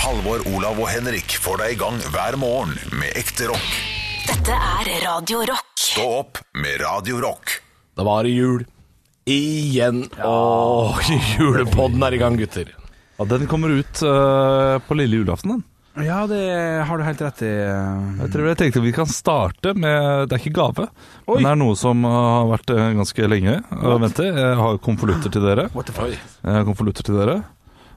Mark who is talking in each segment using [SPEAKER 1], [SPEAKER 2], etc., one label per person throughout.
[SPEAKER 1] Halvor, Olav og Henrik får deg i gang hver morgen med ekte rock.
[SPEAKER 2] Dette er Radio Rock.
[SPEAKER 1] Stå opp med Radio Rock.
[SPEAKER 3] Da var det jul igjen. Åh, julepodden er i gang, gutter.
[SPEAKER 4] Ja, den kommer ut øh, på lille julaften. Den.
[SPEAKER 5] Ja, det har du helt rett i.
[SPEAKER 4] Jeg tror jeg tenkte vi kan starte med Det er ikke gave,
[SPEAKER 5] Oi.
[SPEAKER 4] men det er noe som har vært øh, ganske lenge å vente. Jeg har konvolutter til dere.
[SPEAKER 5] What the fuck?
[SPEAKER 4] Jeg har konvolutter til dere.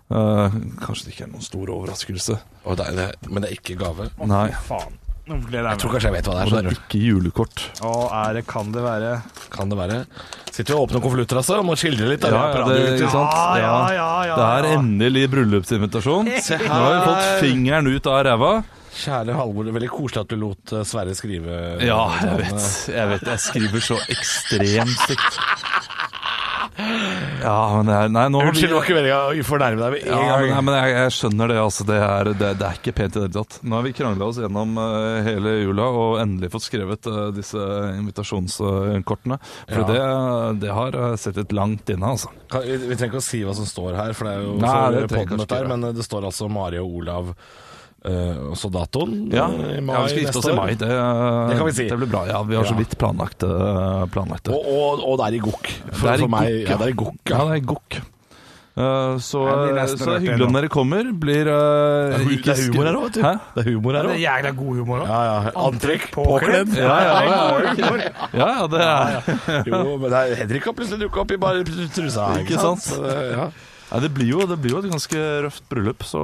[SPEAKER 4] Eh, kanskje det ikke er noen stor overraskelse.
[SPEAKER 3] Åh, det er, det er- men det er ikke gave. Jeg
[SPEAKER 4] Nei,
[SPEAKER 5] Faen. Nå gleder jeg
[SPEAKER 3] tror
[SPEAKER 5] meg.
[SPEAKER 3] kanskje jeg vet hva det er.
[SPEAKER 4] og det er
[SPEAKER 3] skjønner
[SPEAKER 4] ikke julekort.
[SPEAKER 5] Å, er det, kan det være
[SPEAKER 3] du. Kan det være? Sitter vi og åpner konvolutter, altså? Må skildre litt. da.
[SPEAKER 4] Ja, ja, det, ikke sant?
[SPEAKER 5] Ja, ja, ja, ja,
[SPEAKER 4] Det er
[SPEAKER 5] ja.
[SPEAKER 4] endelig bryllupsinvitasjon.
[SPEAKER 3] Se
[SPEAKER 4] Nå har vi fått
[SPEAKER 3] her.
[SPEAKER 4] fingeren ut av ræva.
[SPEAKER 3] Kjære Halvor, det er veldig koselig at du lot eh, Sverre skrive.
[SPEAKER 4] Ja, jeg vet. Jeg vet, jeg skriver så ekstremt stygt. Ja, men det er Nei, nå har vi-
[SPEAKER 3] Unnskyld, det var ikke meningen å fornærme deg med en
[SPEAKER 4] Ja, men, nei,
[SPEAKER 3] gang.
[SPEAKER 4] men jeg, jeg skjønner det, altså. Det er, det, det er ikke pent i det hele tatt. Nå har vi krangla oss gjennom eh, hele jula og endelig fått skrevet eh, disse invitasjonskortene. For
[SPEAKER 3] Ja.
[SPEAKER 4] det, det har eh, sittet langt inne, altså.
[SPEAKER 3] Kan, vi, vi trenger ikke å si hva som står her, for det er jo
[SPEAKER 4] Nei,
[SPEAKER 3] for
[SPEAKER 4] det trenger
[SPEAKER 3] podden
[SPEAKER 4] kanskje
[SPEAKER 3] dette her,
[SPEAKER 4] ikke det.
[SPEAKER 3] men eh, det står altså Mari og Olav eh, og så datoen.
[SPEAKER 4] Ja,
[SPEAKER 3] eh, i mai
[SPEAKER 4] ja vi skal gifte oss
[SPEAKER 3] neste
[SPEAKER 4] i
[SPEAKER 3] år.
[SPEAKER 4] mai. Det,
[SPEAKER 3] Det kan vi si.
[SPEAKER 4] Det blir bra. Ja, vi har
[SPEAKER 3] Ja.
[SPEAKER 4] så vidt planlagt, eh, planlagt det.
[SPEAKER 3] Og, og, og det er i gokk. For,
[SPEAKER 4] Det er i
[SPEAKER 3] for meg,
[SPEAKER 4] gokk,
[SPEAKER 3] ja, det er i gokk.
[SPEAKER 4] Ja, det er gokk. Eh, så,
[SPEAKER 5] Jeg blir
[SPEAKER 4] eh,
[SPEAKER 5] nesten
[SPEAKER 4] så det er
[SPEAKER 5] rørt
[SPEAKER 4] hyggelig
[SPEAKER 5] igjen
[SPEAKER 4] om dere kommer. Blir eh,
[SPEAKER 3] hu-
[SPEAKER 4] ikke
[SPEAKER 3] det er humor
[SPEAKER 4] skru-
[SPEAKER 3] her også, vet du.
[SPEAKER 4] Hæ?
[SPEAKER 3] Det er humor her
[SPEAKER 5] Det er
[SPEAKER 3] òg.
[SPEAKER 5] jævla god humor òg.
[SPEAKER 3] Ja, ja. Antrekk,
[SPEAKER 5] påkledd.
[SPEAKER 3] påkledd.
[SPEAKER 4] Ja, ja, ja, ja, ja, det er
[SPEAKER 3] Jo, men det er Henrik har plutselig dukka opp i bare trusa.
[SPEAKER 4] Ikke sant?
[SPEAKER 3] Så det- Ja.
[SPEAKER 4] Nei, det, blir jo, det blir jo et ganske røft bryllup, så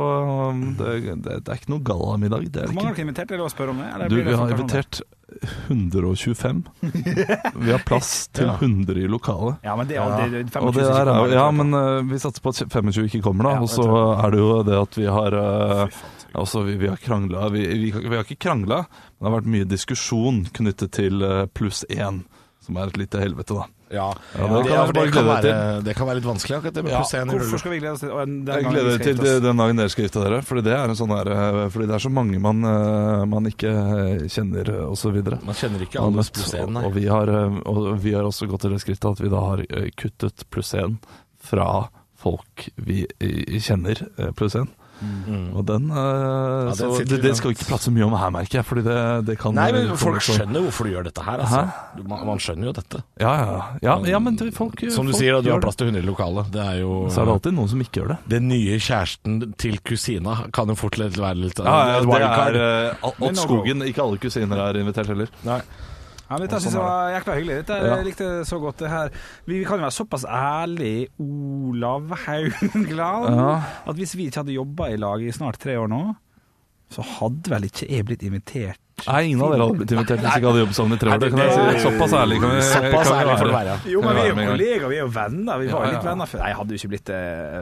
[SPEAKER 4] um, det, det, det er ikke noe gallamiddag. Det er
[SPEAKER 5] Hvor
[SPEAKER 4] det
[SPEAKER 5] mange har
[SPEAKER 4] ikke.
[SPEAKER 5] dere invitert? Eller å spørre om det? Eller
[SPEAKER 4] Du,
[SPEAKER 5] blir det
[SPEAKER 4] vi har
[SPEAKER 5] sånn personlig?
[SPEAKER 4] invitert 125. Vi har plass til 100 i lokalet.
[SPEAKER 5] Ja, men det er jo det, det,
[SPEAKER 4] Og det der er, jo- ja, men uh, vi satser på at 25 ikke kommer, da.
[SPEAKER 5] Ja,
[SPEAKER 4] Og så er det jo det at vi har uh, altså, vi, vi har krangla vi, vi, vi har ikke krangla, men det har vært mye diskusjon knyttet til uh, pluss én, som er et lite helvete, da.
[SPEAKER 3] ja.
[SPEAKER 4] Ja,
[SPEAKER 3] det,
[SPEAKER 4] det kan jeg
[SPEAKER 3] det, kan
[SPEAKER 4] bare glede
[SPEAKER 3] være,
[SPEAKER 4] deg
[SPEAKER 3] det kan være litt vanskelig, akkurat det med pluss én i
[SPEAKER 5] Hvorfor
[SPEAKER 3] rulle.
[SPEAKER 5] skal vi glede oss til å, den
[SPEAKER 4] Jeg
[SPEAKER 5] gangen
[SPEAKER 4] gleder
[SPEAKER 5] vi
[SPEAKER 4] meg
[SPEAKER 5] skal
[SPEAKER 4] til
[SPEAKER 5] gifte oss?
[SPEAKER 4] den dagen dere skal gifte dere, fordi det er en sånn der, eh, fordi det er så mange man, eh, man ikke eh, kjenner eh, og så videre.
[SPEAKER 3] Man kjenner ikke
[SPEAKER 4] Man har
[SPEAKER 3] alle
[SPEAKER 4] møtt,
[SPEAKER 3] pluss én,
[SPEAKER 4] og,
[SPEAKER 3] nei.
[SPEAKER 4] og, vi har, eh, og vi har også gått til det skrittet at vi da har eh, kuttet pluss én fra folk vi eh, kjenner eh, pluss én. Og den, eh,
[SPEAKER 3] Mm. den
[SPEAKER 4] så,
[SPEAKER 3] sitter
[SPEAKER 4] det, det
[SPEAKER 3] langt.
[SPEAKER 4] skal vi ikke prate så mye om her, merker jeg. Fordi det, det kan
[SPEAKER 3] Nei, men
[SPEAKER 4] komme
[SPEAKER 3] folk
[SPEAKER 4] sånn-
[SPEAKER 3] skjønner hvorfor du gjør dette her, altså. Du- Man, man skjønner jo dette.
[SPEAKER 4] Ja, ja. ja, ja men det- folk
[SPEAKER 3] Som du
[SPEAKER 4] folk
[SPEAKER 3] sier, da, du
[SPEAKER 4] gjør
[SPEAKER 3] har
[SPEAKER 4] det.
[SPEAKER 3] plass til 100 i lokalet. Det er jo
[SPEAKER 4] Så er det alltid noen som ikke gjør det.
[SPEAKER 3] Den nye kjæresten til kusina kan jo fort litt være litt et
[SPEAKER 4] det
[SPEAKER 3] wildcard.
[SPEAKER 4] er eh, alt- alt skogen. Ikke alle kusiner er invitert heller.
[SPEAKER 3] Nei.
[SPEAKER 5] Ja, men Dette
[SPEAKER 4] sånn
[SPEAKER 5] synes jeg var jækla hyggelig. Dette er- Jeg likte så godt det her. Vi, vi kan jo være såpass ærlig, Olav Haugland,
[SPEAKER 4] Ja.
[SPEAKER 5] at hvis vi ikke hadde jobba i lag i snart tre år nå, så hadde vel ikke jeg blitt invitert.
[SPEAKER 4] Nei, ingen av dere hadde blitt invitert hvis ikke hadde jobbet sammen i tre år. Det kan jeg
[SPEAKER 3] Nei,
[SPEAKER 4] si.
[SPEAKER 3] det-
[SPEAKER 4] Såpass ærlig kan vi,
[SPEAKER 3] Såpass
[SPEAKER 4] kan vi
[SPEAKER 3] ærlig får det
[SPEAKER 4] være.
[SPEAKER 3] være.
[SPEAKER 5] Jo,
[SPEAKER 4] Ja,
[SPEAKER 5] men vi er
[SPEAKER 4] med
[SPEAKER 5] jo
[SPEAKER 4] en gang.
[SPEAKER 5] kolleger, vi er jo venner. Vi
[SPEAKER 4] Ja,
[SPEAKER 5] var jo
[SPEAKER 4] ja.
[SPEAKER 5] litt venner før. Nei, jeg hadde jo ikke blitt det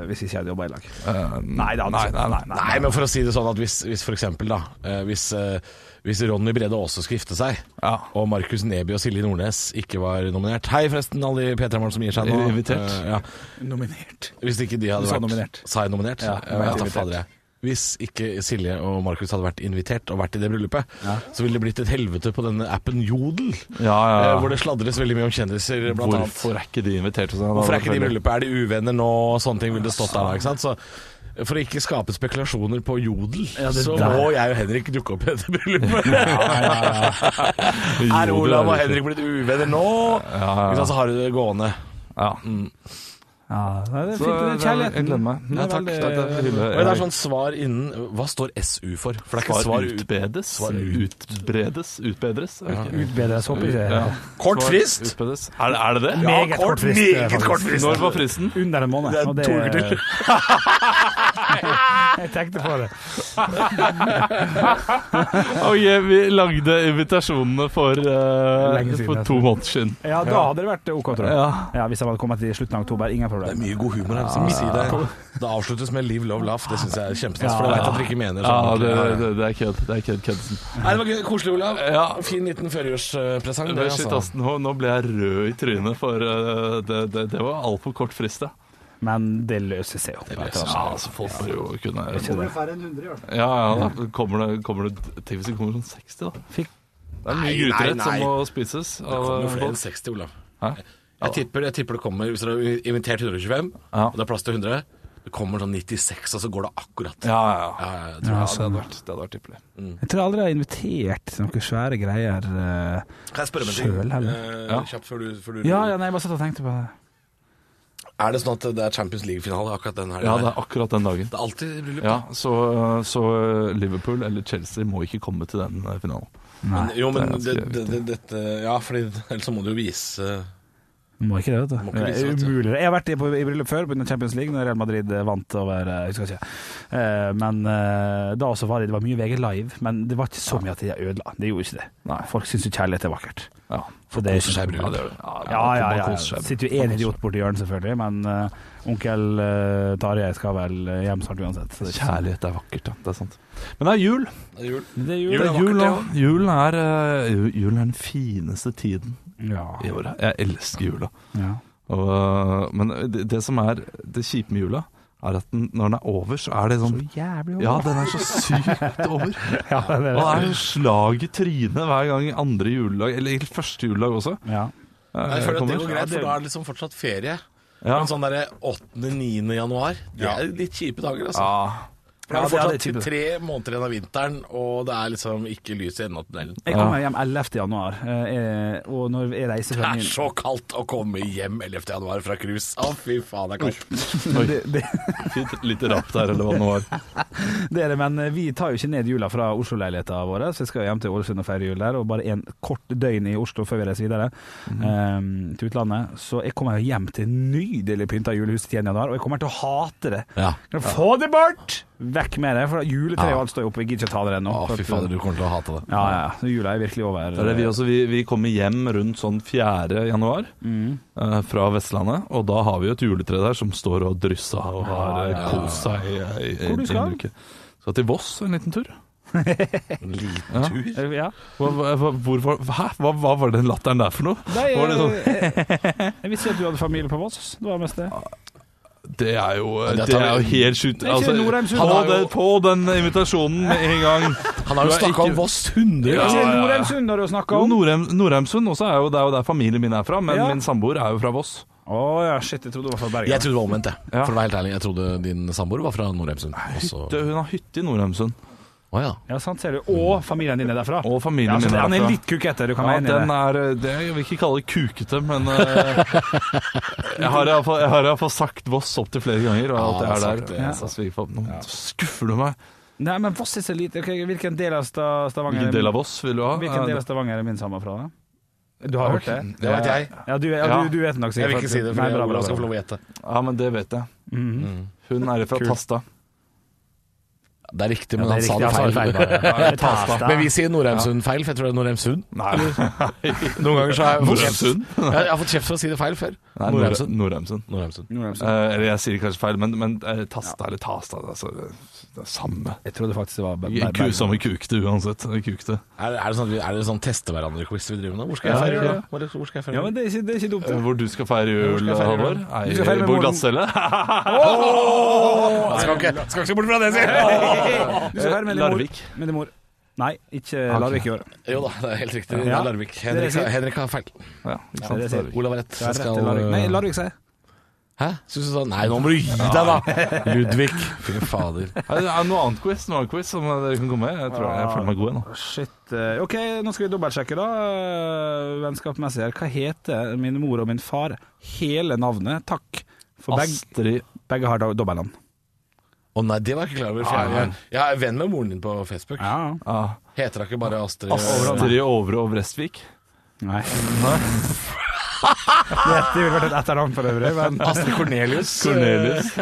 [SPEAKER 5] hvis ikke jeg hadde jobba i lag.
[SPEAKER 4] Eh,
[SPEAKER 5] Nei, det hadde
[SPEAKER 4] nei, nei,
[SPEAKER 5] ikke-
[SPEAKER 4] nei.
[SPEAKER 3] Nei, men for å si det sånn at hvis, hvis for eksempel da eh, hvis, eh, hvis Ronny Brede også skulle gifte seg,
[SPEAKER 4] Ja.
[SPEAKER 3] og Markus Neby og Silje Nordnes ikke var nominert Hei forresten, alle de P3-morgen som gir seg nå.
[SPEAKER 4] Er invitert?
[SPEAKER 3] Eh, ja.
[SPEAKER 5] Nominert.
[SPEAKER 3] Hvis ikke de hadde
[SPEAKER 5] Du sa
[SPEAKER 3] vært
[SPEAKER 5] nominert.
[SPEAKER 3] Sa jeg nominert?
[SPEAKER 5] Ja,
[SPEAKER 3] jeg vet
[SPEAKER 5] invitert.
[SPEAKER 3] da fader jeg. Hvis ikke Silje og Markus hadde vært invitert og vært i det bryllupet, så ville det blitt et helvete på denne appen Jodel,
[SPEAKER 4] Ja, ja,
[SPEAKER 3] eh,
[SPEAKER 4] ja.
[SPEAKER 3] hvor det sladres veldig mye om kjendiser, blant annet.
[SPEAKER 4] Hvorfor er ikke de invitert? Sånn,
[SPEAKER 3] Hvorfor er ikke de i bryllupet? Er de uvenner nå? Og sånne ting ville det stått der. da, ikke sant? Så for å ikke skape spekulasjoner på Jodel, så må jeg og Henrik dukke opp i dette bryllupet. Er Olav og Henrik blitt uvenner nå? Ikke sant, så har du det gående.
[SPEAKER 4] Ja.
[SPEAKER 5] Ja, nei, det er
[SPEAKER 4] Så
[SPEAKER 5] fint. Det er
[SPEAKER 4] jeg, jeg
[SPEAKER 5] kjærligheten.
[SPEAKER 4] gleder meg.
[SPEAKER 3] Ja, takk.
[SPEAKER 4] Det er veldig hyggelig.
[SPEAKER 3] Men det er sånn svar innen Hva står SU for? For det er ikke
[SPEAKER 4] Svar
[SPEAKER 3] svar ut.
[SPEAKER 4] utbedes.
[SPEAKER 3] Svar
[SPEAKER 4] Utbredes. Utbedres. er det ikke?
[SPEAKER 5] Utbedres, håper jeg.
[SPEAKER 4] Ja.
[SPEAKER 3] Kort
[SPEAKER 4] Svar
[SPEAKER 3] frist!
[SPEAKER 4] Utbedes. Er, det- er det det?
[SPEAKER 5] Meget kort frist,
[SPEAKER 3] Meget
[SPEAKER 5] faktisk.
[SPEAKER 3] kort frist.
[SPEAKER 4] Når var fristen?
[SPEAKER 5] Under en måned.
[SPEAKER 3] Det er
[SPEAKER 5] og det-
[SPEAKER 3] to uker til.
[SPEAKER 5] Jeg tenkte på det.
[SPEAKER 4] Oi, eh, vi lagde invitasjonene for, eh,
[SPEAKER 5] Lenge siden,
[SPEAKER 4] for
[SPEAKER 5] jeg
[SPEAKER 4] to måneder siden.
[SPEAKER 5] Ja, da hadde det vært OK, tror jeg.
[SPEAKER 4] Ja.
[SPEAKER 5] Ja, Hvis jeg hadde kommet i slutten av oktober, ingen
[SPEAKER 3] Det er
[SPEAKER 5] problem.
[SPEAKER 3] mye god humor her. Liksom. Si det. det avsluttes med 'live, love, laugh'. Det syns jeg er kjempesnilt, for det veit jeg at dere ikke mener
[SPEAKER 4] Ja,
[SPEAKER 3] sånn.
[SPEAKER 4] det, det, det er kødd. Det er kødd, køddsen.
[SPEAKER 3] Nei, det var gøy. koselig, Olav.
[SPEAKER 4] Ja.
[SPEAKER 3] Fin liten førjulspresang. altså.
[SPEAKER 4] Men Shit, ass, nå, nå ble jeg rød i trynet, for eh, det, det, det var altfor kort frist. det.
[SPEAKER 5] Men det løser seg jo.
[SPEAKER 4] Ja, altså, folk bør jo kunne
[SPEAKER 5] Ikke det.
[SPEAKER 4] Ja, ja, da kommer det, kommer det Tenk hvis det kommer sånn 60, da.
[SPEAKER 5] Fikk-
[SPEAKER 4] Det er
[SPEAKER 3] Nei,
[SPEAKER 4] mye
[SPEAKER 3] nei,
[SPEAKER 4] gryterett som
[SPEAKER 3] nei.
[SPEAKER 4] må spises.
[SPEAKER 3] Det
[SPEAKER 4] av eh,
[SPEAKER 3] kommer flere enn
[SPEAKER 4] folk.
[SPEAKER 3] 60, Olav.
[SPEAKER 4] Hæ?
[SPEAKER 3] Jeg tipper, jeg tipper det kommer Hvis dere har invitert 125,
[SPEAKER 4] Ja.
[SPEAKER 3] og det er plass til 100, Det kommer sånn 96, og så går det akkurat.
[SPEAKER 4] Ja,
[SPEAKER 3] Ja,
[SPEAKER 4] ja.
[SPEAKER 3] ja, jeg
[SPEAKER 4] Ja,
[SPEAKER 3] tror
[SPEAKER 4] det
[SPEAKER 3] det.
[SPEAKER 4] hadde vært, det hadde vært ypperlig.
[SPEAKER 5] Jeg tror aldri jeg har invitert til noen svære greier. eh.
[SPEAKER 3] Kan jeg spørre om en
[SPEAKER 5] Sjøl,
[SPEAKER 3] ting?
[SPEAKER 5] heller.
[SPEAKER 3] Eh,
[SPEAKER 4] Ja.
[SPEAKER 3] Kjapt før du, før du
[SPEAKER 5] Ja, ja, nei, jeg bare satt og tenkte på det.
[SPEAKER 3] Er det sånn at det er Champions League-finale akkurat den helga?
[SPEAKER 4] Ja, det
[SPEAKER 3] her?
[SPEAKER 4] er akkurat den dagen.
[SPEAKER 3] det er alltid bryllup.
[SPEAKER 4] Ja, så, så eh, Liverpool eller Chelsea må ikke komme til den eh, finalen.
[SPEAKER 3] Men, jo, men
[SPEAKER 4] det er
[SPEAKER 3] det,
[SPEAKER 4] ganske
[SPEAKER 3] det, det, dette Ja, fordi ellers så må du jo vise
[SPEAKER 5] Må ikke det, vet du.
[SPEAKER 3] Må ikke
[SPEAKER 5] Det
[SPEAKER 3] vise
[SPEAKER 5] er
[SPEAKER 3] det, vet du.
[SPEAKER 5] umulig. Jeg har vært i, på, i bryllup før pga. Champions League, når Real Madrid vant over eh, Jeg husker ikke. Eh, men eh, da også var det, det var mye VG live, men det var ikke så mye at de ødela. Det gjorde ikke det.
[SPEAKER 4] Nei.
[SPEAKER 5] Folk syns jo kjærlighet er vakkert.
[SPEAKER 4] Ja,
[SPEAKER 5] For det er
[SPEAKER 3] koser seg i bryllup.
[SPEAKER 5] Ja, ja, ja. ja, Sitter jo én idiot borti hjørnet, selvfølgelig, men eh, onkel eh, Tarjei skal vel eh, hjem snart uansett. så det er ikke så-
[SPEAKER 4] Kjærlighet er vakkert, ja. Det er sant. Men det er jul.
[SPEAKER 3] Det er jul.
[SPEAKER 5] Det er
[SPEAKER 3] Jul
[SPEAKER 4] Det
[SPEAKER 5] jul.
[SPEAKER 3] er
[SPEAKER 4] er jul,
[SPEAKER 3] vakkert,
[SPEAKER 4] også. julen, er, eh, ju- julen er den fineste tiden i
[SPEAKER 5] Ja.
[SPEAKER 4] året. Jeg elsker jula.
[SPEAKER 5] ja.
[SPEAKER 4] Og, eh, men det, det som er det kjipe med jula, er at den, når den er over, så er det sånn
[SPEAKER 5] Jævlig
[SPEAKER 4] Ja, den er så sykt over.
[SPEAKER 5] Ja, det
[SPEAKER 4] Og det
[SPEAKER 5] er det.
[SPEAKER 4] er jo slag i trynet hver gang andre juledag, eller egentlig første juledag også.
[SPEAKER 5] Ja.
[SPEAKER 4] eh,
[SPEAKER 3] Jeg føler at det
[SPEAKER 4] kommer.
[SPEAKER 3] går greit, for da er det liksom fortsatt ferie.
[SPEAKER 4] Ja.
[SPEAKER 3] Men sånn derre 8.-9. januar, det er litt kjipe dager, altså.
[SPEAKER 4] Ja.
[SPEAKER 3] For det
[SPEAKER 5] Ja,
[SPEAKER 3] er
[SPEAKER 5] det er
[SPEAKER 3] fortsatt
[SPEAKER 5] litt kjipe.
[SPEAKER 3] tre måneder igjen av vinteren, og det er liksom ikke lys i enden av tunnelen.
[SPEAKER 5] Jeg kommer hjem 11. januar, eh, og når jeg reiser
[SPEAKER 3] Det
[SPEAKER 5] fra
[SPEAKER 3] er
[SPEAKER 5] min
[SPEAKER 3] så kaldt å komme hjem 11. januar fra cruise. Å, fy faen, det er kaldt.
[SPEAKER 4] Oi,
[SPEAKER 5] det, det,
[SPEAKER 4] fint litt rapp der, eller hva det nå var.
[SPEAKER 5] det er det, men eh, vi tar jo ikke ned jula fra Oslo-leilighetene våre, så jeg skal hjem til Ålesund og feire jul der, og bare en kort døgn i Oslo før vi reiser videre
[SPEAKER 3] Mhm.
[SPEAKER 5] eh, til utlandet. Så jeg kommer jo hjem til nydelig pynta julehus til 10. januar, og jeg kommer til å hate det.
[SPEAKER 3] Ja.
[SPEAKER 5] Få det bort! Vekk med det, for juletreet og alt står jo oppe, jeg gidder ikke ta det ennå.
[SPEAKER 3] Å, fy fader, du kommer til å hate det.
[SPEAKER 5] Ja, ja, så jula er virkelig over.
[SPEAKER 4] Det er det vi også. Vi, vi kommer hjem rundt sånn 4. januar
[SPEAKER 5] Mm.
[SPEAKER 4] eh, fra Vestlandet, og da har vi jo et juletre der som står og drysser og har eh, kost seg i, i, i
[SPEAKER 5] Hvor du
[SPEAKER 4] i
[SPEAKER 5] skal?
[SPEAKER 4] en uke. Skal til Voss en liten tur.
[SPEAKER 3] En liten tur.
[SPEAKER 5] Ja.
[SPEAKER 4] Hva, hva, hva- hvor, var- hæ? Hva, hva var den latteren der for noe?
[SPEAKER 5] Nei,
[SPEAKER 4] Var det sånn?
[SPEAKER 5] jeg, jeg visste jo at du hadde familie på Voss. Det var mest det.
[SPEAKER 4] Det er jo,
[SPEAKER 3] det
[SPEAKER 4] det
[SPEAKER 3] tar
[SPEAKER 4] er jo
[SPEAKER 3] vi-
[SPEAKER 4] helt sjukt.
[SPEAKER 5] er ikke Norheim Sund.
[SPEAKER 4] han
[SPEAKER 3] Han
[SPEAKER 4] hadde
[SPEAKER 3] har jo-
[SPEAKER 4] på den invitasjonen med en gang.
[SPEAKER 3] Han har
[SPEAKER 4] Du
[SPEAKER 3] jo
[SPEAKER 4] er
[SPEAKER 3] snakka
[SPEAKER 4] ikke-
[SPEAKER 3] om Voss 100
[SPEAKER 4] Ja,
[SPEAKER 5] Ja,
[SPEAKER 3] ganger.
[SPEAKER 4] ja, ja.
[SPEAKER 5] Norheimsund har du snakka
[SPEAKER 4] Jo,
[SPEAKER 5] om. Å
[SPEAKER 4] Norheim, Norheimsund også er jo, det er jo der familien min er fra, men
[SPEAKER 5] Ja.
[SPEAKER 4] min samboer er jo fra Voss.
[SPEAKER 5] ja, shit, jeg trodde du var fra Bergen.
[SPEAKER 3] Jeg trodde det var omvendt, jeg. For å være helt ærlig, jeg trodde din samboer var fra Nordheimsund. og så-
[SPEAKER 4] Det- Hun har hytte i Norheimsund,
[SPEAKER 3] Å ja.
[SPEAKER 5] Ja, sant, ser du. Og familien din er derfra.
[SPEAKER 4] og familien
[SPEAKER 5] Ja, så
[SPEAKER 4] min
[SPEAKER 5] han
[SPEAKER 4] er
[SPEAKER 5] er
[SPEAKER 4] derfra.
[SPEAKER 5] litt kukete, du kan
[SPEAKER 4] Ja,
[SPEAKER 5] være enig i
[SPEAKER 4] den
[SPEAKER 5] det.
[SPEAKER 4] er eh, det, Jeg vil ikke kalle det kukete, men eh, jeg har iallfall- jeg har iallfall sagt Voss opptil flere ganger. Og
[SPEAKER 3] Ja, du
[SPEAKER 4] at
[SPEAKER 3] har
[SPEAKER 4] jeg er
[SPEAKER 3] sagt
[SPEAKER 4] der
[SPEAKER 3] det,
[SPEAKER 4] Ja.
[SPEAKER 3] altså.
[SPEAKER 4] Så svigerfar, Nå skuffer du meg!
[SPEAKER 5] Nei, men Voss er så lite. Ok, hvilken del av Sta Stavanger
[SPEAKER 4] Hvilken del av Voss vil du ha?
[SPEAKER 5] Hvilken del
[SPEAKER 4] Eh,
[SPEAKER 5] av Stavanger er min samme fra? da? Du har hørt det?
[SPEAKER 3] Det vet jeg.
[SPEAKER 5] Ja, du, ja,
[SPEAKER 4] Ja.
[SPEAKER 5] du, du vet nok
[SPEAKER 3] Jeg vil
[SPEAKER 5] sikkert.
[SPEAKER 3] ikke si det, for
[SPEAKER 5] Nei, bra,
[SPEAKER 3] jeg-
[SPEAKER 5] bra,
[SPEAKER 3] Olav skal få
[SPEAKER 5] bra.
[SPEAKER 3] lov å gjette.
[SPEAKER 4] Ja, men det vet jeg. Mm. Hun er fra
[SPEAKER 5] Mhm. Kult.
[SPEAKER 4] Tasta.
[SPEAKER 3] Det er riktig,
[SPEAKER 5] Ja,
[SPEAKER 3] men
[SPEAKER 5] det er
[SPEAKER 3] han sa det
[SPEAKER 5] riktig,
[SPEAKER 3] feil.
[SPEAKER 5] bare. Tasta.
[SPEAKER 3] Men vi sier Norheimsund feil, for jeg tror det er Norheimsund.
[SPEAKER 4] Nei,
[SPEAKER 3] Noen ganger så har jeg fått kjeft.
[SPEAKER 4] Norheimsund?
[SPEAKER 3] Ja, Jeg har fått kjeft for å si det feil før.
[SPEAKER 4] Nei,
[SPEAKER 3] Norheimsund.
[SPEAKER 4] Norheimsund.
[SPEAKER 3] Norheimsund.
[SPEAKER 4] Eh,
[SPEAKER 5] Norheimsund.
[SPEAKER 4] Eller jeg sier det kanskje feil, men, men eh, Tasta eller Tasta, det er altså det er samme.
[SPEAKER 5] Jeg trodde faktisk det var Ber- Ber-
[SPEAKER 4] Ku, samme kukete uansett. Det er Kukete.
[SPEAKER 3] Er, er det sånn, at vi- er det sånn teste hverandre-quiz vi driver med? Hvor skal jeg
[SPEAKER 4] Ja,
[SPEAKER 3] feire
[SPEAKER 4] ja, ja.
[SPEAKER 3] jul? Hvor- Hvor skal jeg feire jul?
[SPEAKER 5] Ja, men det er ikke, det er ikke dumt. det.
[SPEAKER 4] Hvor du skal feire jul,
[SPEAKER 5] skal jeg feire jul?
[SPEAKER 4] Halvor?
[SPEAKER 5] Du skal
[SPEAKER 4] Nei,
[SPEAKER 5] feire med
[SPEAKER 4] På
[SPEAKER 5] moren.
[SPEAKER 4] glattcelle?
[SPEAKER 3] Jeg skal ikke, skal ikke se bort fra det, sier
[SPEAKER 5] Du skal være med din mor.
[SPEAKER 4] Larvik.
[SPEAKER 5] Med din mor. Nei, ikke Larvik i år.
[SPEAKER 3] Jo da, det er helt riktig. Det
[SPEAKER 5] Ja.
[SPEAKER 3] er Larvik. Henrik,
[SPEAKER 5] Det er riktig.
[SPEAKER 3] Henrik har feil.
[SPEAKER 4] Ja, ikke sant?
[SPEAKER 5] det sier-
[SPEAKER 4] Larvik.
[SPEAKER 3] Olav har rett.
[SPEAKER 5] Du
[SPEAKER 3] Jeg
[SPEAKER 5] har rett
[SPEAKER 3] skal,
[SPEAKER 5] i Larvik. Nei,
[SPEAKER 3] eh,
[SPEAKER 5] Larvik, sier jeg.
[SPEAKER 3] Hæ? Synes du sånn Nei, nå må du gi deg, da! Ludvig. Fy fader.
[SPEAKER 4] Er det er noe annet quiz noe annet quiz som dere kan komme med? Jeg tror jeg føler meg god nå.
[SPEAKER 5] Shit. eh, OK, nå skal vi dobbeltsjekke, da. eh, Vennskapmessig her. Hva heter min mor og min far? Hele navnet, takk. For begge,
[SPEAKER 4] Astrid
[SPEAKER 5] begge har do- dobbeltnavn.
[SPEAKER 3] Å nei, det var jeg ikke klar over. For jeg, jeg, jeg er venn med moren din på Facebook.
[SPEAKER 5] Ja.
[SPEAKER 4] ah,
[SPEAKER 3] Heter hun ikke bare Astrid?
[SPEAKER 4] Astrid Ovre og Brestvik.
[SPEAKER 5] Nei. det ville vært et etternavn for øvrig, men
[SPEAKER 3] Astrid Cornelius.
[SPEAKER 4] Cornelius.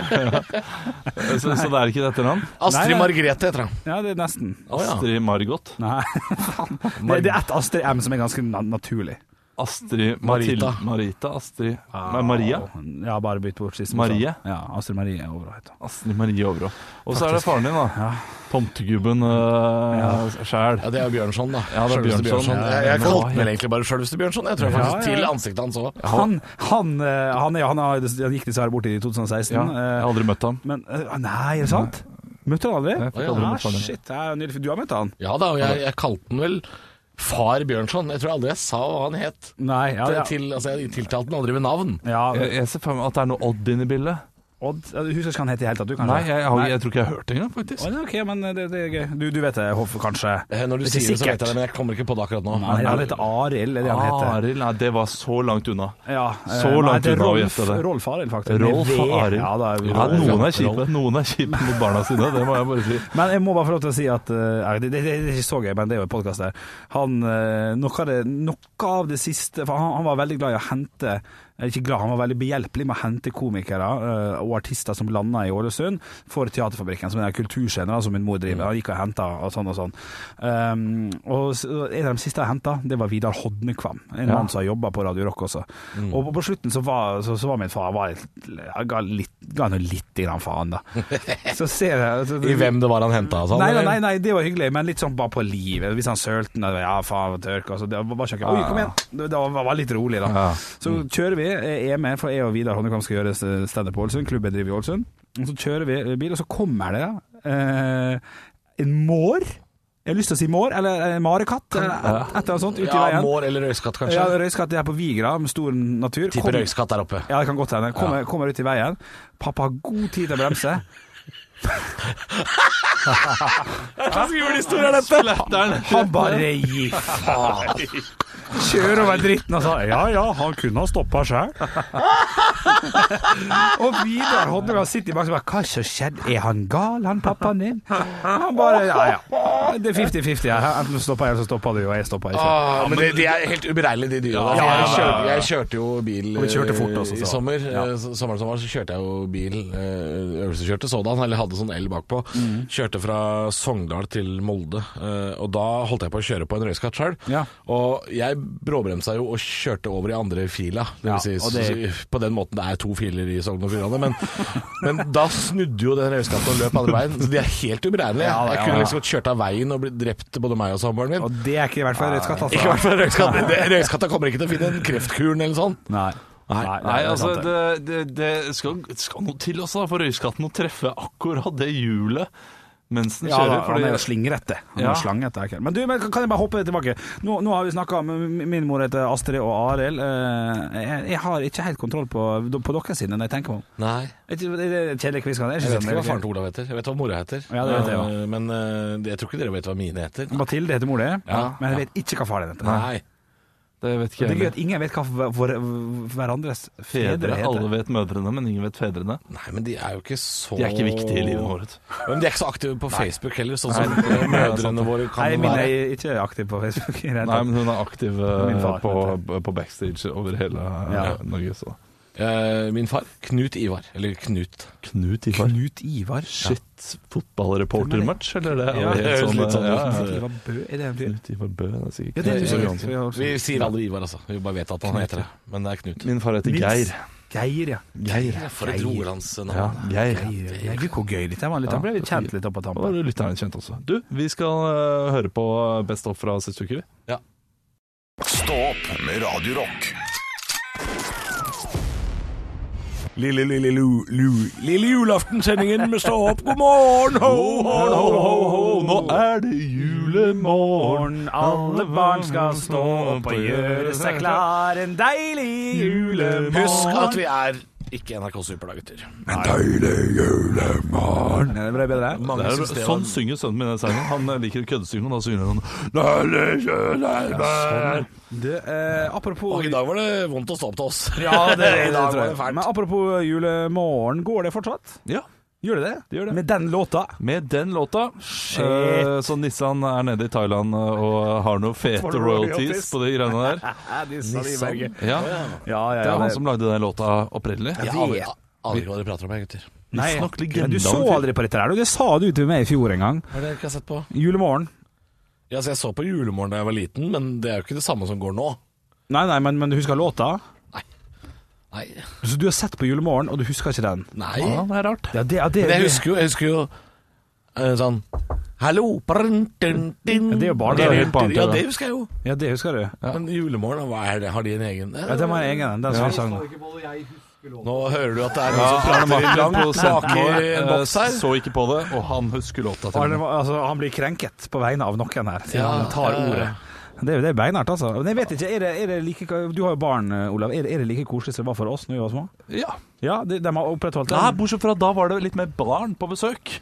[SPEAKER 4] så, så det er ikke et etternavn?
[SPEAKER 3] Astrid
[SPEAKER 5] Nei, nei.
[SPEAKER 3] Margrethe heter hun.
[SPEAKER 5] Ja, det er nesten.
[SPEAKER 3] Å ja.
[SPEAKER 4] Astrid Margot.
[SPEAKER 5] Nei. Det, det er ett Astrid M som er ganske na naturlig.
[SPEAKER 4] Astrid
[SPEAKER 3] Marita.
[SPEAKER 4] Marita. Marita Astrid Nei, Ah. Maria.
[SPEAKER 5] Ja, bare bytt bort sist.
[SPEAKER 4] Marie?
[SPEAKER 5] Ja, Astrid Marie er overalt. da.
[SPEAKER 4] Astrid Marie Overå. Og så er det faren din, da. Tomtegubben uh, sjæl.
[SPEAKER 3] Ja, det er Bjørnson, da.
[SPEAKER 4] Ja, det er
[SPEAKER 3] Sjølveste
[SPEAKER 4] Bjørnson.
[SPEAKER 3] Jeg, jeg
[SPEAKER 4] Ja,
[SPEAKER 3] kalte
[SPEAKER 4] ja.
[SPEAKER 3] den vel egentlig bare Sjølveste Bjørnson. Jeg tror
[SPEAKER 5] Ja,
[SPEAKER 3] faktisk
[SPEAKER 5] ja, ja.
[SPEAKER 3] til ansiktet hans òg.
[SPEAKER 5] Han, han, eh, han, er- han, har- han gikk dessverre bort i 2016.
[SPEAKER 4] Ja, jeg
[SPEAKER 5] eh,
[SPEAKER 4] har aldri møtt ham.
[SPEAKER 5] Men eh, Nei, er det sant? Møtte han aldri?
[SPEAKER 4] Jeg fikk
[SPEAKER 3] Å, ja.
[SPEAKER 4] aldri
[SPEAKER 5] Ah,
[SPEAKER 4] møtt faren din.
[SPEAKER 5] shit, det er jo nydelig, for du har møtt han?
[SPEAKER 3] Ja da, og jeg, jeg kalte den vel Far Bjørnson. Jeg tror aldri jeg sa hva han het.
[SPEAKER 5] Nei, ja,
[SPEAKER 3] Til, altså, jeg tiltalte den aldri ved navn.
[SPEAKER 5] ja,
[SPEAKER 4] Eh, Jeg, jeg ser for meg at det er noe odd inne i bildet.
[SPEAKER 5] Odd Jeg husker ikke hva han heter i det hele tatt. Du, kanskje?
[SPEAKER 4] Nei, jeg, har,
[SPEAKER 5] Nei.
[SPEAKER 4] jeg tror ikke jeg har hørt det engang, faktisk.
[SPEAKER 5] Å, nei, ok, men eh, det, det er gøy. Du, du vet det, Hoff, kanskje?
[SPEAKER 3] Eh, Når du
[SPEAKER 5] Ikke
[SPEAKER 3] sier det, så vet
[SPEAKER 5] sikkert.
[SPEAKER 3] jeg det, men jeg kommer ikke på det akkurat nå.
[SPEAKER 5] Nei, han heter Arild, er det
[SPEAKER 4] Ah,
[SPEAKER 5] han heter.
[SPEAKER 4] Arild, nei, det var så langt unna.
[SPEAKER 5] Ja,
[SPEAKER 4] Så
[SPEAKER 5] eh,
[SPEAKER 4] langt
[SPEAKER 5] nei, det er
[SPEAKER 4] unna å
[SPEAKER 5] Rolf-
[SPEAKER 4] gjette det.
[SPEAKER 5] Rolf Arild, faktisk.
[SPEAKER 4] Rolf
[SPEAKER 5] Med V.
[SPEAKER 4] og Arild.
[SPEAKER 5] Ja, da er vi-
[SPEAKER 4] Ja, noen er
[SPEAKER 3] Rolf.
[SPEAKER 4] kjipe Noen er kjipe mot barna sine, det må jeg bare si.
[SPEAKER 5] Men jeg må bare få lov til å si at eh, nei, det, det, det er ikke så gøy, men det er jo en podkast der. Han, eh, noe, av det, noe av det siste For han, han var veldig glad i å hente eh, Ikke glad, han var veldig behjelpelig med å hente komikere eh, og artister som landa i Ålesund, for Teaterfabrikken, som er en kulturscene da, som min mor
[SPEAKER 3] Mm.
[SPEAKER 5] driver. Han gikk og henta og sånn og sånn. Um, og s- og en av de siste jeg henta, det var Vidar Hodnekvam, en mann som har jobba på Radio Rock også.
[SPEAKER 3] Mm.
[SPEAKER 5] Og på, på slutten så var, så, så var min far var litt, jeg ga, litt, ga nå lite grann faen, da. Så ser jeg så,
[SPEAKER 3] I hvem det var han henta? Altså,
[SPEAKER 5] Nei, nei, nei, nei, det var hyggelig, men litt sånn bare på livet. Hvis han sølte den, ja faen, tørk altså, Det var bare ikke Oi, kom igjen! Det det var, var litt rolig, da.
[SPEAKER 4] Ja.
[SPEAKER 5] Så
[SPEAKER 3] Mm.
[SPEAKER 5] kjører vi, jeg er med, for jeg og Vidar Honnekvam skal gjøre eh, standup på Ålesund. Klubben driver i Ålesund. Og så kjører vi bil, og så kommer det eh, en mår. Jeg har lyst til å si mår, eller en marekatt, eller et, et eller annet sånt, ute i
[SPEAKER 3] Ja,
[SPEAKER 5] veien.
[SPEAKER 3] Mår eller røyskatt,
[SPEAKER 5] Ja,
[SPEAKER 3] kanskje?
[SPEAKER 5] Røyskatt det er på Vigra, med stor natur.
[SPEAKER 3] Tipper
[SPEAKER 5] Kom-
[SPEAKER 3] røyskatt der oppe.
[SPEAKER 5] ja, det kan godt hende. Kommer, kommer ut i veien. Pappa har god tid til å bremse. Han bare gir faen. Kjører over dritten og sa ja ja, han kunne ha stoppa sjøl. og Vidar Hodnegang sitter i bak og bare hva som skjedde, er han gal, han pappaen din? Han bare ja ja. Det er fifty-fifty her. Enten stopper jeg, eller så stopper du, og jeg stopper ikke.
[SPEAKER 3] Ah, men de, de er helt uberegnelige, de dyra. der. jeg, kjørte, jeg kjørte jo bil
[SPEAKER 5] Og vi kjørte fort også,
[SPEAKER 3] eh,
[SPEAKER 5] så.
[SPEAKER 3] i sommer.
[SPEAKER 5] Ja.
[SPEAKER 3] eh, s- Sommeren som var, så kjørte jeg jo bil. eh, Øvelseskjørte sådan, eller hadde sånn el bakpå.
[SPEAKER 5] Mm.
[SPEAKER 3] Kjørte fra Sogndal til Molde, eh, og da holdt jeg på å kjøre på en røyskatt sjøl.
[SPEAKER 5] Ja.
[SPEAKER 3] Og jeg bråbremsa jo og kjørte over i andre fila, det vil si
[SPEAKER 5] Ja, og det-
[SPEAKER 3] s- på den måten det er to filer i Sogn og Fjordane, men, men da snudde jo den røyskatten og løp andre veien. Så de er helt uberegnelige.
[SPEAKER 5] Ja, da, ja,
[SPEAKER 3] jeg kunne
[SPEAKER 5] ja.
[SPEAKER 3] liksom godt kjørt av veien og blitt drept, både meg og samboeren min.
[SPEAKER 5] Og det er ikke i hvert fall rødt skatt,
[SPEAKER 3] Ikke i hvert
[SPEAKER 5] altså.
[SPEAKER 3] fall røyskatt. Det- Røyskatta kommer ikke til å finne en kreftkuren eller sånn.
[SPEAKER 5] Nei. Nei,
[SPEAKER 4] Nei,
[SPEAKER 5] det er
[SPEAKER 4] altså,
[SPEAKER 5] sant, det.
[SPEAKER 4] det, det, det skal, skal noe til også, da, for røyskatten å treffe akkurat det hjulet mens den
[SPEAKER 5] Ja,
[SPEAKER 4] kjører.
[SPEAKER 5] da, han er jo slingrette. Han er
[SPEAKER 4] Ja.
[SPEAKER 5] jo slangete. er ikke han? Men du, men kan jeg bare hoppe tilbake? Nå, nå har vi snakka om Min mor heter Astrid og Arild. Eh, Jeg, jeg har ikke helt kontroll på, på dere sine når jeg tenker meg om.
[SPEAKER 3] Nei.
[SPEAKER 5] Det er en Kjedelig quiz, kan jeg?
[SPEAKER 3] Jeg vet ikke hva
[SPEAKER 5] skjønner
[SPEAKER 3] faren til Olav heter. Jeg vet hva mora heter.
[SPEAKER 5] Ja, det vet jeg også.
[SPEAKER 3] Eh, Men eh, jeg tror ikke dere vet hva mine heter.
[SPEAKER 5] Mathilde heter mor di,
[SPEAKER 3] Ja.
[SPEAKER 5] men jeg vet ikke hva faren heter.
[SPEAKER 3] Nei.
[SPEAKER 4] det vet
[SPEAKER 5] Det
[SPEAKER 4] ikke
[SPEAKER 5] er
[SPEAKER 4] jeg
[SPEAKER 5] gøy
[SPEAKER 4] heller.
[SPEAKER 5] at ingen vet hva hver- hver- hverandres fedre
[SPEAKER 4] Fedre, alle
[SPEAKER 5] heter.
[SPEAKER 4] vet mødrene, men ingen vet fedrene.
[SPEAKER 3] Nei, men de er jo ikke så
[SPEAKER 4] De er ikke viktige i livet vårt.
[SPEAKER 3] Men de er ikke så aktive på Facebook heller, sånn som eh, mødrene våre kan
[SPEAKER 5] Nei, jeg mener
[SPEAKER 3] være.
[SPEAKER 5] jeg er ikke aktiv på Facebook. i det hele
[SPEAKER 4] Nei,
[SPEAKER 5] tatt.
[SPEAKER 4] men hun er aktiv
[SPEAKER 5] Min far,
[SPEAKER 4] eh, på,
[SPEAKER 5] vet
[SPEAKER 4] på backstage over hele eh,
[SPEAKER 5] Ja.
[SPEAKER 4] Norge, så
[SPEAKER 3] Eh, Min far, Knut Ivar. Eller Knut.
[SPEAKER 4] Knut Ivar.
[SPEAKER 5] Knut Ivar.
[SPEAKER 4] Shit, fotballreportermatch, eller det?
[SPEAKER 3] Ja, det høres litt sånn ut.
[SPEAKER 5] Knut Ivar Bø, er det en fyr?
[SPEAKER 4] Knut Ivar Bø, det er sikkert
[SPEAKER 5] Ja, det er
[SPEAKER 4] Knut
[SPEAKER 5] du
[SPEAKER 4] Ivar
[SPEAKER 5] sikkert.
[SPEAKER 4] Johansen.
[SPEAKER 3] Vi sier aldri Ivar, altså. Vi bare vet at han heter det. Men det er Knut.
[SPEAKER 4] Min far heter
[SPEAKER 5] Nils.
[SPEAKER 4] Geir.
[SPEAKER 5] Geir, ja.
[SPEAKER 4] Geir.
[SPEAKER 3] For et rolandsnavn.
[SPEAKER 4] Ja, Geir.
[SPEAKER 5] Geir. Gud, hvor gøy dette var. Litt. Han ble litt kjent litt opp på
[SPEAKER 4] Og
[SPEAKER 5] tampen.
[SPEAKER 4] da er du lytterne kjent også. Du, vi skal eh, høre på Best of fra siste uke, vi.
[SPEAKER 3] Ja.
[SPEAKER 1] Stå opp med Radio Rock.
[SPEAKER 3] Lille, lille, lu, lu, lille julaften-sendingen med Stå opp, god morgen, ho, ho, ho, ho, ho.
[SPEAKER 4] Nå er det julemorgen.
[SPEAKER 5] Morgen, alle barn skal stå opp og gjøre seg klar En deilig julemorgen
[SPEAKER 3] Husk at vi er ikke NRK Super, da, gutter.
[SPEAKER 5] Det ble bedre
[SPEAKER 3] Mange
[SPEAKER 4] Det er,
[SPEAKER 3] synes det var-
[SPEAKER 4] sånn synger sønnen min den sangen. Han eh, liker å køddesynge, og da synger han «Lille julemorgen».
[SPEAKER 5] du, eh, Apropos
[SPEAKER 3] Og i dag var det vondt å stå opp til oss.
[SPEAKER 5] Ja, det,
[SPEAKER 3] I dag var det fælt.
[SPEAKER 5] Men apropos julemorgen Går det fortsatt?
[SPEAKER 4] Ja,
[SPEAKER 5] Gjør det det?
[SPEAKER 4] det gjør det.
[SPEAKER 5] Med den låta
[SPEAKER 4] Med den låta
[SPEAKER 5] Shit.
[SPEAKER 4] eh, Så Nissan er nede i Thailand eh, og har noen fete
[SPEAKER 5] For
[SPEAKER 4] royalties
[SPEAKER 5] royalties.
[SPEAKER 4] på de greiene der.
[SPEAKER 5] Nissan
[SPEAKER 4] Ja,
[SPEAKER 5] Ja, ja,
[SPEAKER 4] Det
[SPEAKER 5] ja
[SPEAKER 4] er han
[SPEAKER 5] det-
[SPEAKER 4] som lagde den låta opprinnelig.
[SPEAKER 3] Jeg
[SPEAKER 5] Ja,
[SPEAKER 3] aner- aner ikke hva dere prater om, jeg, gutter.
[SPEAKER 5] Nei,
[SPEAKER 4] Vi snakker legende
[SPEAKER 5] men du
[SPEAKER 4] om
[SPEAKER 5] så
[SPEAKER 4] fyr.
[SPEAKER 5] aldri på dette her du. Det sa du til meg i fjor en gang
[SPEAKER 3] Hva er det dere ikke har sett på?
[SPEAKER 5] Julemorgen
[SPEAKER 3] Ja, så jeg så på Julemorgen da jeg var liten, men det er jo ikke det samme som går nå.
[SPEAKER 5] Nei, nei, men, men du husker låta
[SPEAKER 3] Nei.
[SPEAKER 5] Så du har sett på julemorgen Og du husker ikke den
[SPEAKER 3] Nei.
[SPEAKER 4] Ja, det er rart.
[SPEAKER 5] Ja, det, ja, det,
[SPEAKER 3] Men jeg
[SPEAKER 5] det-
[SPEAKER 3] husker jo, jeg husker jo eh, sånn Hallo brun, dun, dun.
[SPEAKER 5] det er jo barne-
[SPEAKER 3] Det
[SPEAKER 5] det er jo barne-
[SPEAKER 3] Ja, det husker jeg jo.
[SPEAKER 5] Ja, det husker du
[SPEAKER 3] Men Julemorgen, hva er det? har de en egen
[SPEAKER 5] Ja, den var egen, den, den som vi sang nå.
[SPEAKER 3] Nå hører du at det er
[SPEAKER 4] Ja,
[SPEAKER 3] noen
[SPEAKER 4] Arne Martin på
[SPEAKER 3] som
[SPEAKER 4] Sandmore,
[SPEAKER 3] snakker i en
[SPEAKER 4] eh,
[SPEAKER 3] boks her.
[SPEAKER 4] så ikke på det, og han husker låta til
[SPEAKER 5] Arne,
[SPEAKER 4] den.
[SPEAKER 5] altså, han blir krenket på vegne av noen her, siden
[SPEAKER 3] Ja,
[SPEAKER 5] han tar
[SPEAKER 3] ja, ja.
[SPEAKER 5] ordet. Det er jo det er beinhardt, altså. Men jeg vet ikke, er det, er det like, Du har jo barn, eh, Olav. Er det, er det like koselig som det var for oss når vi var små?
[SPEAKER 4] Ja.
[SPEAKER 5] Ja, de, de har opprettholdt
[SPEAKER 4] Nei,
[SPEAKER 5] det.
[SPEAKER 4] bortsett fra da var det litt mer barn på besøk.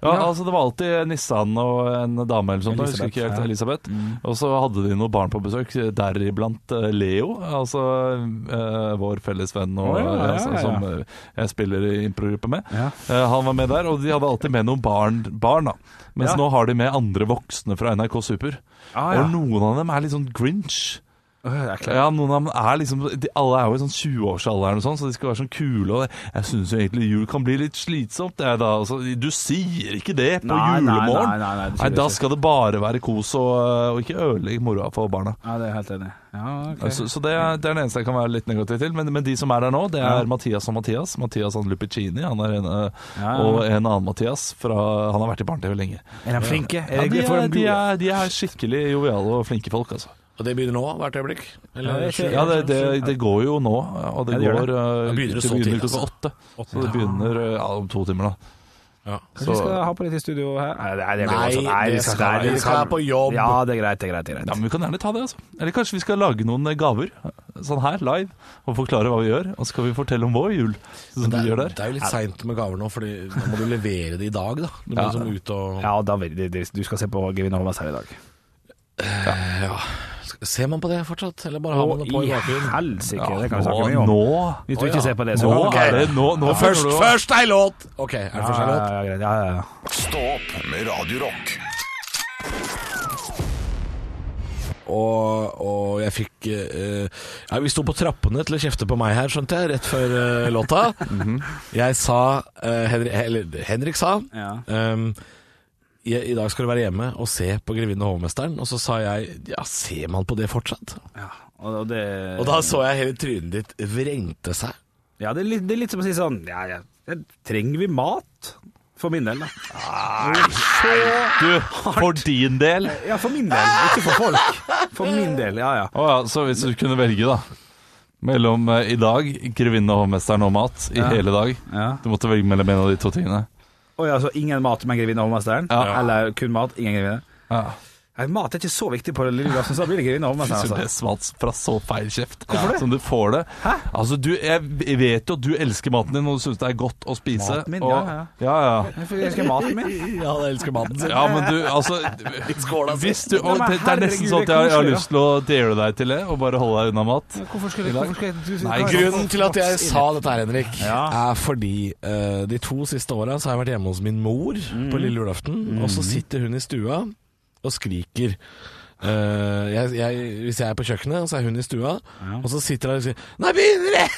[SPEAKER 4] Ja,
[SPEAKER 5] Ja.
[SPEAKER 4] altså Det var alltid Nissan og en dame eller sånt, jeg husker ikke helt, Elisabeth. Mm. Og så hadde de noen barn på besøk, deriblant eh, Leo, altså eh, vår felles venn og,
[SPEAKER 5] Å, ja, ja,
[SPEAKER 4] altså,
[SPEAKER 5] ja, ja.
[SPEAKER 4] som eh, jeg spiller i improgruppe med.
[SPEAKER 5] Ja.
[SPEAKER 4] Eh, han var med der, og de hadde alltid med noen barn, barn da. Mens
[SPEAKER 5] Ja.
[SPEAKER 4] nå har de med andre voksne fra NRK Super.
[SPEAKER 5] Ah, ja.
[SPEAKER 4] Og noen av dem er litt sånn grinch.
[SPEAKER 5] Øh, jeg er klar.
[SPEAKER 4] Ja, noen av dem er liksom de, Alle er jo i sånn 20-årsalderen og sånn, så de skal være sånn kule. Og det- jeg syns jo egentlig jul kan bli litt slitsomt, jeg da. Altså, du sier ikke det på
[SPEAKER 5] Nei, nei,
[SPEAKER 4] julemorgen!
[SPEAKER 5] nei, nei, nei, det sier du
[SPEAKER 4] da
[SPEAKER 5] ikke.
[SPEAKER 4] skal det bare være kos og, og ikke ødelegge moroa for barna.
[SPEAKER 5] Ja, det er jeg helt enig. i. Ja, ok.
[SPEAKER 4] Så, så det, er, det er den eneste jeg kan være litt negativ til. Men, men de som er der nå, det er
[SPEAKER 5] Ja.
[SPEAKER 4] Mathias og Mathias. Mathias han Lupicini han er en, eh,
[SPEAKER 5] Ja, ja.
[SPEAKER 4] og en annen Mathias. Fra, han har vært i barne-TV lenge.
[SPEAKER 5] er de flinke?
[SPEAKER 4] Ja, de,
[SPEAKER 5] Er det- får
[SPEAKER 4] er, de,
[SPEAKER 5] gode-
[SPEAKER 4] er, de er skikkelig joviale og flinke folk, altså.
[SPEAKER 3] Og det begynner nå, hvert øyeblikk?
[SPEAKER 5] Ja,
[SPEAKER 3] Eller
[SPEAKER 5] det er ikke-
[SPEAKER 4] Ja, det, det, det går jo nå, og det,
[SPEAKER 5] Ja, det gjør
[SPEAKER 4] går eh,
[SPEAKER 3] Da begynner det
[SPEAKER 4] det
[SPEAKER 3] så tidlig,
[SPEAKER 4] begynner klokka
[SPEAKER 3] altså.
[SPEAKER 4] åtte. Så det begynner eh, ja, om to timer, da.
[SPEAKER 3] Ja.
[SPEAKER 5] Kanskje vi skal ha på litt i studio her? Nei, det, det, blir
[SPEAKER 3] Nei,
[SPEAKER 5] voldsomt.
[SPEAKER 3] det
[SPEAKER 5] vi
[SPEAKER 3] skal-
[SPEAKER 5] nei, vi
[SPEAKER 3] vi skal være på jobb.
[SPEAKER 5] Ja, det er greit, det er greit. Det
[SPEAKER 4] Ja,
[SPEAKER 5] er greit.
[SPEAKER 4] men Vi kan gjerne ta det. altså Eller kanskje vi skal lage noen eh, gaver sånn her, live, og forklare hva vi gjør. Og så skal vi fortelle om vår jul, sånn som
[SPEAKER 3] Det er,
[SPEAKER 4] vi gjør der.
[SPEAKER 3] det er jo litt seint med gaver nå, Fordi nå må du levere det i dag. da Du må
[SPEAKER 4] Ja.
[SPEAKER 3] liksom ut og
[SPEAKER 5] Ja, da, vil- det- det- du skal se på Gevin Holmes her i dag.
[SPEAKER 3] Ja. Ser man på det fortsatt, eller bare har man det på i bakgrunnen?
[SPEAKER 5] helsike,
[SPEAKER 4] Ja,
[SPEAKER 5] det kan vi snakke
[SPEAKER 4] nå-
[SPEAKER 5] mye om.
[SPEAKER 4] nå,
[SPEAKER 5] Hvis du ikke
[SPEAKER 3] Å, ja.
[SPEAKER 5] ser på det, så
[SPEAKER 4] nå
[SPEAKER 5] Ok.
[SPEAKER 4] er det nå, nå
[SPEAKER 3] Først,
[SPEAKER 4] føler du-
[SPEAKER 3] først ei låt! Ok, er det
[SPEAKER 5] Ja,
[SPEAKER 3] først ei låt?
[SPEAKER 5] ja, ja, greit. ja, ja, ja.
[SPEAKER 1] Stå opp med Radio Rock.
[SPEAKER 3] Og, og jeg fikk eh, ja, Vi sto på trappene til å kjefte på meg her, skjønte jeg, rett før eh, låta.
[SPEAKER 4] Mhm.
[SPEAKER 3] Jeg sa eh, Henrik, Eller Henrik sa
[SPEAKER 5] Ja.
[SPEAKER 3] ehm, i, I dag skal du være hjemme og se på 'Grevinnen og hovmesteren'. Og så sa jeg Ja, ser man på det fortsatt?
[SPEAKER 5] Ja, og, og det,
[SPEAKER 3] Og da så jeg hele trynet ditt vrengte seg.
[SPEAKER 5] ja det, er litt, det er litt som å si sånn ja, ja, ja, Trenger vi mat? For min del, da.
[SPEAKER 4] Du, for din del.
[SPEAKER 5] Ja, for min del, ikke for folk. For min del, ja ja.
[SPEAKER 4] Å ja, så hvis du kunne velge, da. Mellom eh, i dag, 'Grevinnen og hovmesteren' og mat, i
[SPEAKER 5] Ja.
[SPEAKER 4] hele dag.
[SPEAKER 5] ja.
[SPEAKER 4] Du måtte velge mellom en av de to tingene.
[SPEAKER 5] Å ja, så ingen mat, men grevinne og hovmesteren?
[SPEAKER 4] Ja.
[SPEAKER 5] Eller kun mat, ingen grevinne?
[SPEAKER 4] Ja.
[SPEAKER 5] Nei, mat er ikke så viktig på det lille glasset, så da blir det grevinne og
[SPEAKER 4] Så
[SPEAKER 5] hovmesteren.
[SPEAKER 4] det
[SPEAKER 5] Altså.
[SPEAKER 4] smalt fra så feil kjeft
[SPEAKER 5] Hvorfor det?
[SPEAKER 4] som du får det.
[SPEAKER 5] Hæ?
[SPEAKER 4] Altså, du, jeg jeg vet jo at du elsker maten din, og du syns det er godt å spise.
[SPEAKER 5] Maten min,
[SPEAKER 4] og,
[SPEAKER 5] ja,
[SPEAKER 4] ja, ja.
[SPEAKER 5] Hvorfor elsker jeg maten min?
[SPEAKER 3] Ja, jeg elsker maten sin.
[SPEAKER 4] Ja, men du, altså hvis du, og, det, det er nesten sånn at jeg, jeg har lyst til å dele deg til det, og bare holde deg unna mat.
[SPEAKER 5] Hvorfor skal jeg, hvorfor skal jeg du-
[SPEAKER 4] Nei,
[SPEAKER 5] hva er det
[SPEAKER 3] Grunnen
[SPEAKER 5] for-
[SPEAKER 3] til at jeg sa dette her, Henrik,
[SPEAKER 5] Ja.
[SPEAKER 3] er fordi eh, de to siste åra så har jeg vært hjemme hos min mor
[SPEAKER 5] Mm.
[SPEAKER 3] på lille julaften, og så sitter hun i stua og skriker. Eh, jeg, jeg, hvis jeg er på kjøkkenet, så er hun i stua, og så sitter hun og sier 'Nå begynner det!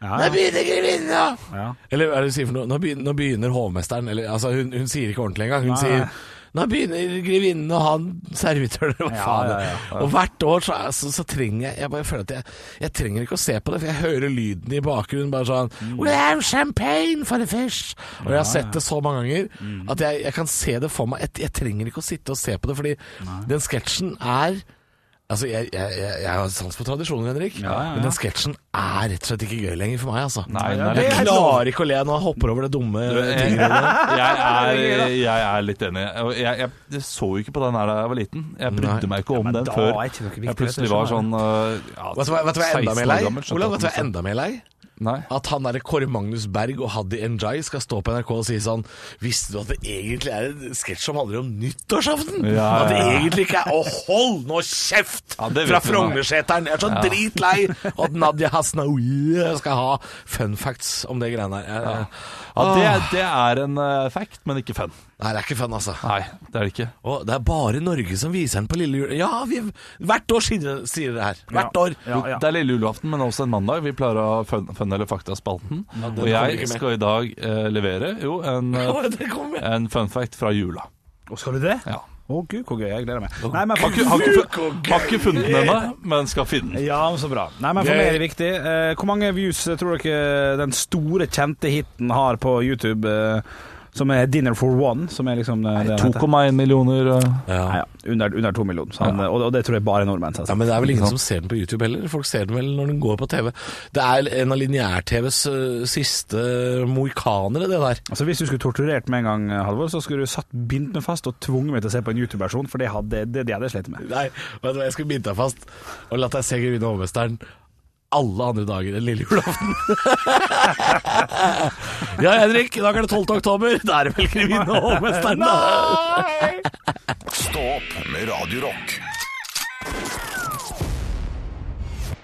[SPEAKER 5] Ja,
[SPEAKER 3] Nå
[SPEAKER 5] ja.
[SPEAKER 3] begynner grevinna!'
[SPEAKER 5] Ja.
[SPEAKER 3] Eller hva er det hun sier for noe? 'Nå begynner, nå begynner hovmesteren' Eller altså, hun, hun sier ikke ordentlig engang. Hun
[SPEAKER 5] Nei.
[SPEAKER 3] sier 'Nå begynner grevinnen og han servitøren', eller hva
[SPEAKER 5] Ja,
[SPEAKER 3] faen.
[SPEAKER 5] ja, ja.
[SPEAKER 3] Og hvert år så, er- så, så trenger jeg Jeg bare føler at jeg, jeg trenger ikke å se på det, for jeg hører lyden i bakgrunnen bare sånn
[SPEAKER 5] Mm.
[SPEAKER 3] We have champagne for the fish! Og jeg har sett det så mange ganger
[SPEAKER 5] Mm.
[SPEAKER 3] at jeg, jeg kan se det for meg. Jeg, jeg trenger ikke å sitte og se på det, fordi den sketsjen er Altså, jeg, jeg, jeg, jeg har sans for tradisjoner, Henrik,
[SPEAKER 5] Ja, ja, ja.
[SPEAKER 3] men den sketsjen er rett og slett ikke gøy lenger for meg, altså.
[SPEAKER 4] Nei, nei,
[SPEAKER 3] jeg
[SPEAKER 4] nei.
[SPEAKER 3] klarer ikke å le når jeg hopper over det dumme
[SPEAKER 4] Jeg,
[SPEAKER 3] tingene.
[SPEAKER 4] er, jeg er litt enig. Og Jeg, jeg, jeg så jo ikke på den her da jeg var liten. Jeg brydde
[SPEAKER 3] Nei.
[SPEAKER 4] meg ikke om
[SPEAKER 5] men
[SPEAKER 4] den
[SPEAKER 5] da
[SPEAKER 4] før
[SPEAKER 5] er ikke noe viktig,
[SPEAKER 4] jeg plutselig
[SPEAKER 5] det
[SPEAKER 4] var
[SPEAKER 5] skjønner
[SPEAKER 4] sånn uh, ja,
[SPEAKER 3] Vet du hva vet du hva jeg er enda mer
[SPEAKER 4] 16 år
[SPEAKER 3] lei?
[SPEAKER 4] gammel, skjønte
[SPEAKER 3] Olav,
[SPEAKER 4] at
[SPEAKER 3] vet du hva jeg er
[SPEAKER 4] den-
[SPEAKER 3] enda mer lei?
[SPEAKER 4] Nei.
[SPEAKER 3] At han derre Kåre Magnus Berg og Haddy Njay skal stå på NRK og si sånn Visste du at det egentlig er en sketsj som handler om nyttårsaften?
[SPEAKER 4] Ja, ja,
[SPEAKER 3] At det
[SPEAKER 4] ja.
[SPEAKER 3] egentlig ikke er Å, hold nå kjeft!
[SPEAKER 4] Ja, det vet
[SPEAKER 3] fra
[SPEAKER 4] vi nå.
[SPEAKER 3] Frognerseteren! Jeg er så dritlei Og at Nadia Hasnaoui skal ha fun facts om det greiene der. Jeg-
[SPEAKER 4] Ja, det, det er en eh, fact, men ikke fun.
[SPEAKER 3] Nei, det er ikke fun, altså.
[SPEAKER 5] Ah.
[SPEAKER 4] Nei, det er det ikke.
[SPEAKER 3] Og det er bare Norge som viser den på lille jul... Ja, vi, hvert år sier det- sier det her. Hvert
[SPEAKER 5] Ja.
[SPEAKER 3] år.
[SPEAKER 5] Ja, ja.
[SPEAKER 4] Det er lille julaften, men også en mandag. Vi pleier å ha fun, fun eller fakta-spalten. og
[SPEAKER 3] kommer ikke
[SPEAKER 4] jeg
[SPEAKER 3] med.
[SPEAKER 4] skal i dag eh, levere jo en, eh,
[SPEAKER 3] Å, det kommer.
[SPEAKER 4] en fun fact fra jula.
[SPEAKER 5] Og skal du det?
[SPEAKER 4] Ja.
[SPEAKER 5] Å gud, hvor gøy. Jeg gleder meg. Nei, men
[SPEAKER 4] Har ikke, har ikke, fun- har ikke funnet den ennå, men skal finne den.
[SPEAKER 5] Ja, men så bra. Nei, men For meg er det viktig. Eh, hvor mange views tror dere den store, kjente hiten har på YouTube? eh, Som er Dinner for One. Som er liksom det, det han heter.
[SPEAKER 4] 2,1 millioner eh,
[SPEAKER 5] Nei, ja. Under, under to millioner. Så han, og, og det tror jeg bare er nordmenn.
[SPEAKER 3] Ja,
[SPEAKER 5] Altså.
[SPEAKER 3] men det er vel ingen som ser den på YouTube heller. Folk ser den vel når den går på TV. Det er en av lineær-TVs eh, siste mohikanere, det der.
[SPEAKER 5] altså Hvis du skulle torturert meg en gang, eh, Halvor, så skulle du satt bindt meg fast og tvunget meg til å se på en YouTube-versjon, for det hadde, det, det hadde jeg slitt med.
[SPEAKER 3] Nei, vet du hva, jeg skulle bindt deg fast og latt deg se Grevinne og hovmesteren alle andre dager enn lille julaften. ja, Henrik, i dag er det 12. oktober. Da er det vel Grevinne og hovmesteren, da.
[SPEAKER 1] Stå opp med Radio Rock.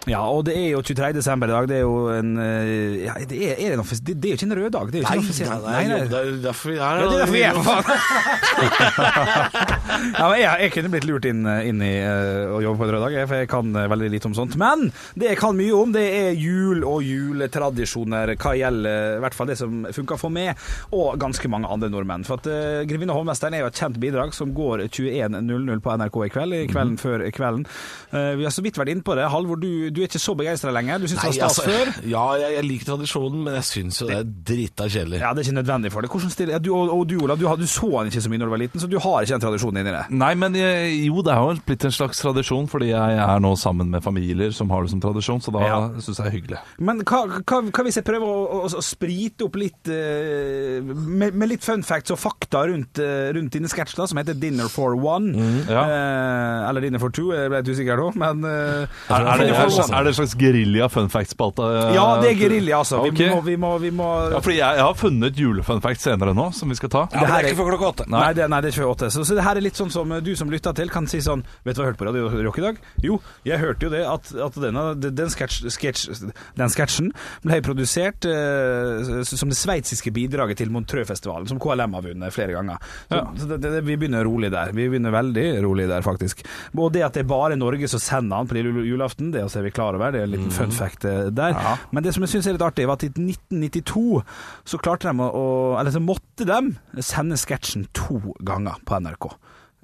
[SPEAKER 5] Ja, og det er jo 23. desember i dag. Det er jo en eh, ja, det, er, er det, en offis, det, det er jo ikke en rød dag. Det er jo ikke en offisiell
[SPEAKER 3] Det er jo derfor vi er
[SPEAKER 5] Ja, det er derfor vi er
[SPEAKER 3] her.
[SPEAKER 5] på faen. ja, men jeg, jeg kunne blitt lurt inn, inn i eh, å jobbe på en rød dag, jeg, for jeg kan eh, veldig lite om sånt. Men det jeg kan mye om, det er jul og juletradisjoner hva gjelder eh, i hvert fall det som funker for meg og ganske mange andre nordmenn. For at eh, Grevinne og hovmesteren er jo et kjent bidrag som går 21.00 på NRK i kveld, i kvelden før kvelden. Eh, vi har så vidt vært inne på det. Halvor, du, du er ikke så begeistra lenger. Du syns det
[SPEAKER 3] Nei,
[SPEAKER 5] var stas
[SPEAKER 3] altså,
[SPEAKER 5] før.
[SPEAKER 3] ja, jeg, jeg liker tradisjonen, men jeg syns jo det er drita kjedelig.
[SPEAKER 5] Ja, Det er ikke nødvendig for deg. Hvordan stiller, ja, du, og, og du, Olav, du, har- du så han ikke så mye når du var liten, så du har ikke den tradisjonen inni deg.
[SPEAKER 4] Nei, men eh, jo, det er jo blitt en slags tradisjon, fordi jeg er nå sammen med familier som har det som tradisjon, så da
[SPEAKER 5] Ja.
[SPEAKER 4] synes syns jeg det er hyggelig.
[SPEAKER 5] Men hva, hva, hva hvis jeg prøver å, å, å sprite opp litt eh, med, med litt fun facts og fakta rundt, eh, rundt dine sketsjer, da, som heter 'Dinner for one'?
[SPEAKER 4] ja.
[SPEAKER 5] Eh, eller 'Dinner for two', jeg ble litt usikker nå, men eh,
[SPEAKER 4] Er, er, det,
[SPEAKER 5] Dinner
[SPEAKER 4] er,
[SPEAKER 5] for one.
[SPEAKER 4] er det en slags gerilja fun fact-spalte? eh,
[SPEAKER 5] Ja, det er gerilja, altså. Vi
[SPEAKER 4] Ok.
[SPEAKER 5] må, vi må, vi må
[SPEAKER 4] Ja, fordi jeg, jeg har funnet julefun facts senere nå, som vi skal ta.
[SPEAKER 5] det her er-
[SPEAKER 3] før klokka åtte.
[SPEAKER 5] Nei. det, nei, det er ikke før åtte. Så, så det her er litt sånn som eh, du som lytter til, kan si sånn Vet du hva jeg hørte på Radio Rock i dag? Jo, jeg hørte jo det at, at denne, den, sketsj, sketsj, den sketsjen ble produsert eh, s- som det sveitsiske bidraget til Montreux-festivalen, som KLM har vunnet flere ganger. Så, så det, det, vi begynner rolig der. Vi begynner veldig rolig der, faktisk. Og det at det er bare Norge som sender han på lille julaften, det er også er vi klar over. Det er en liten
[SPEAKER 3] Mhm.
[SPEAKER 5] fun fact eh, der. Men det som jeg syns er litt artig, var at i 1992 så klarte de å å- Eller så måtte de sende sketsjen to ganger på NRK.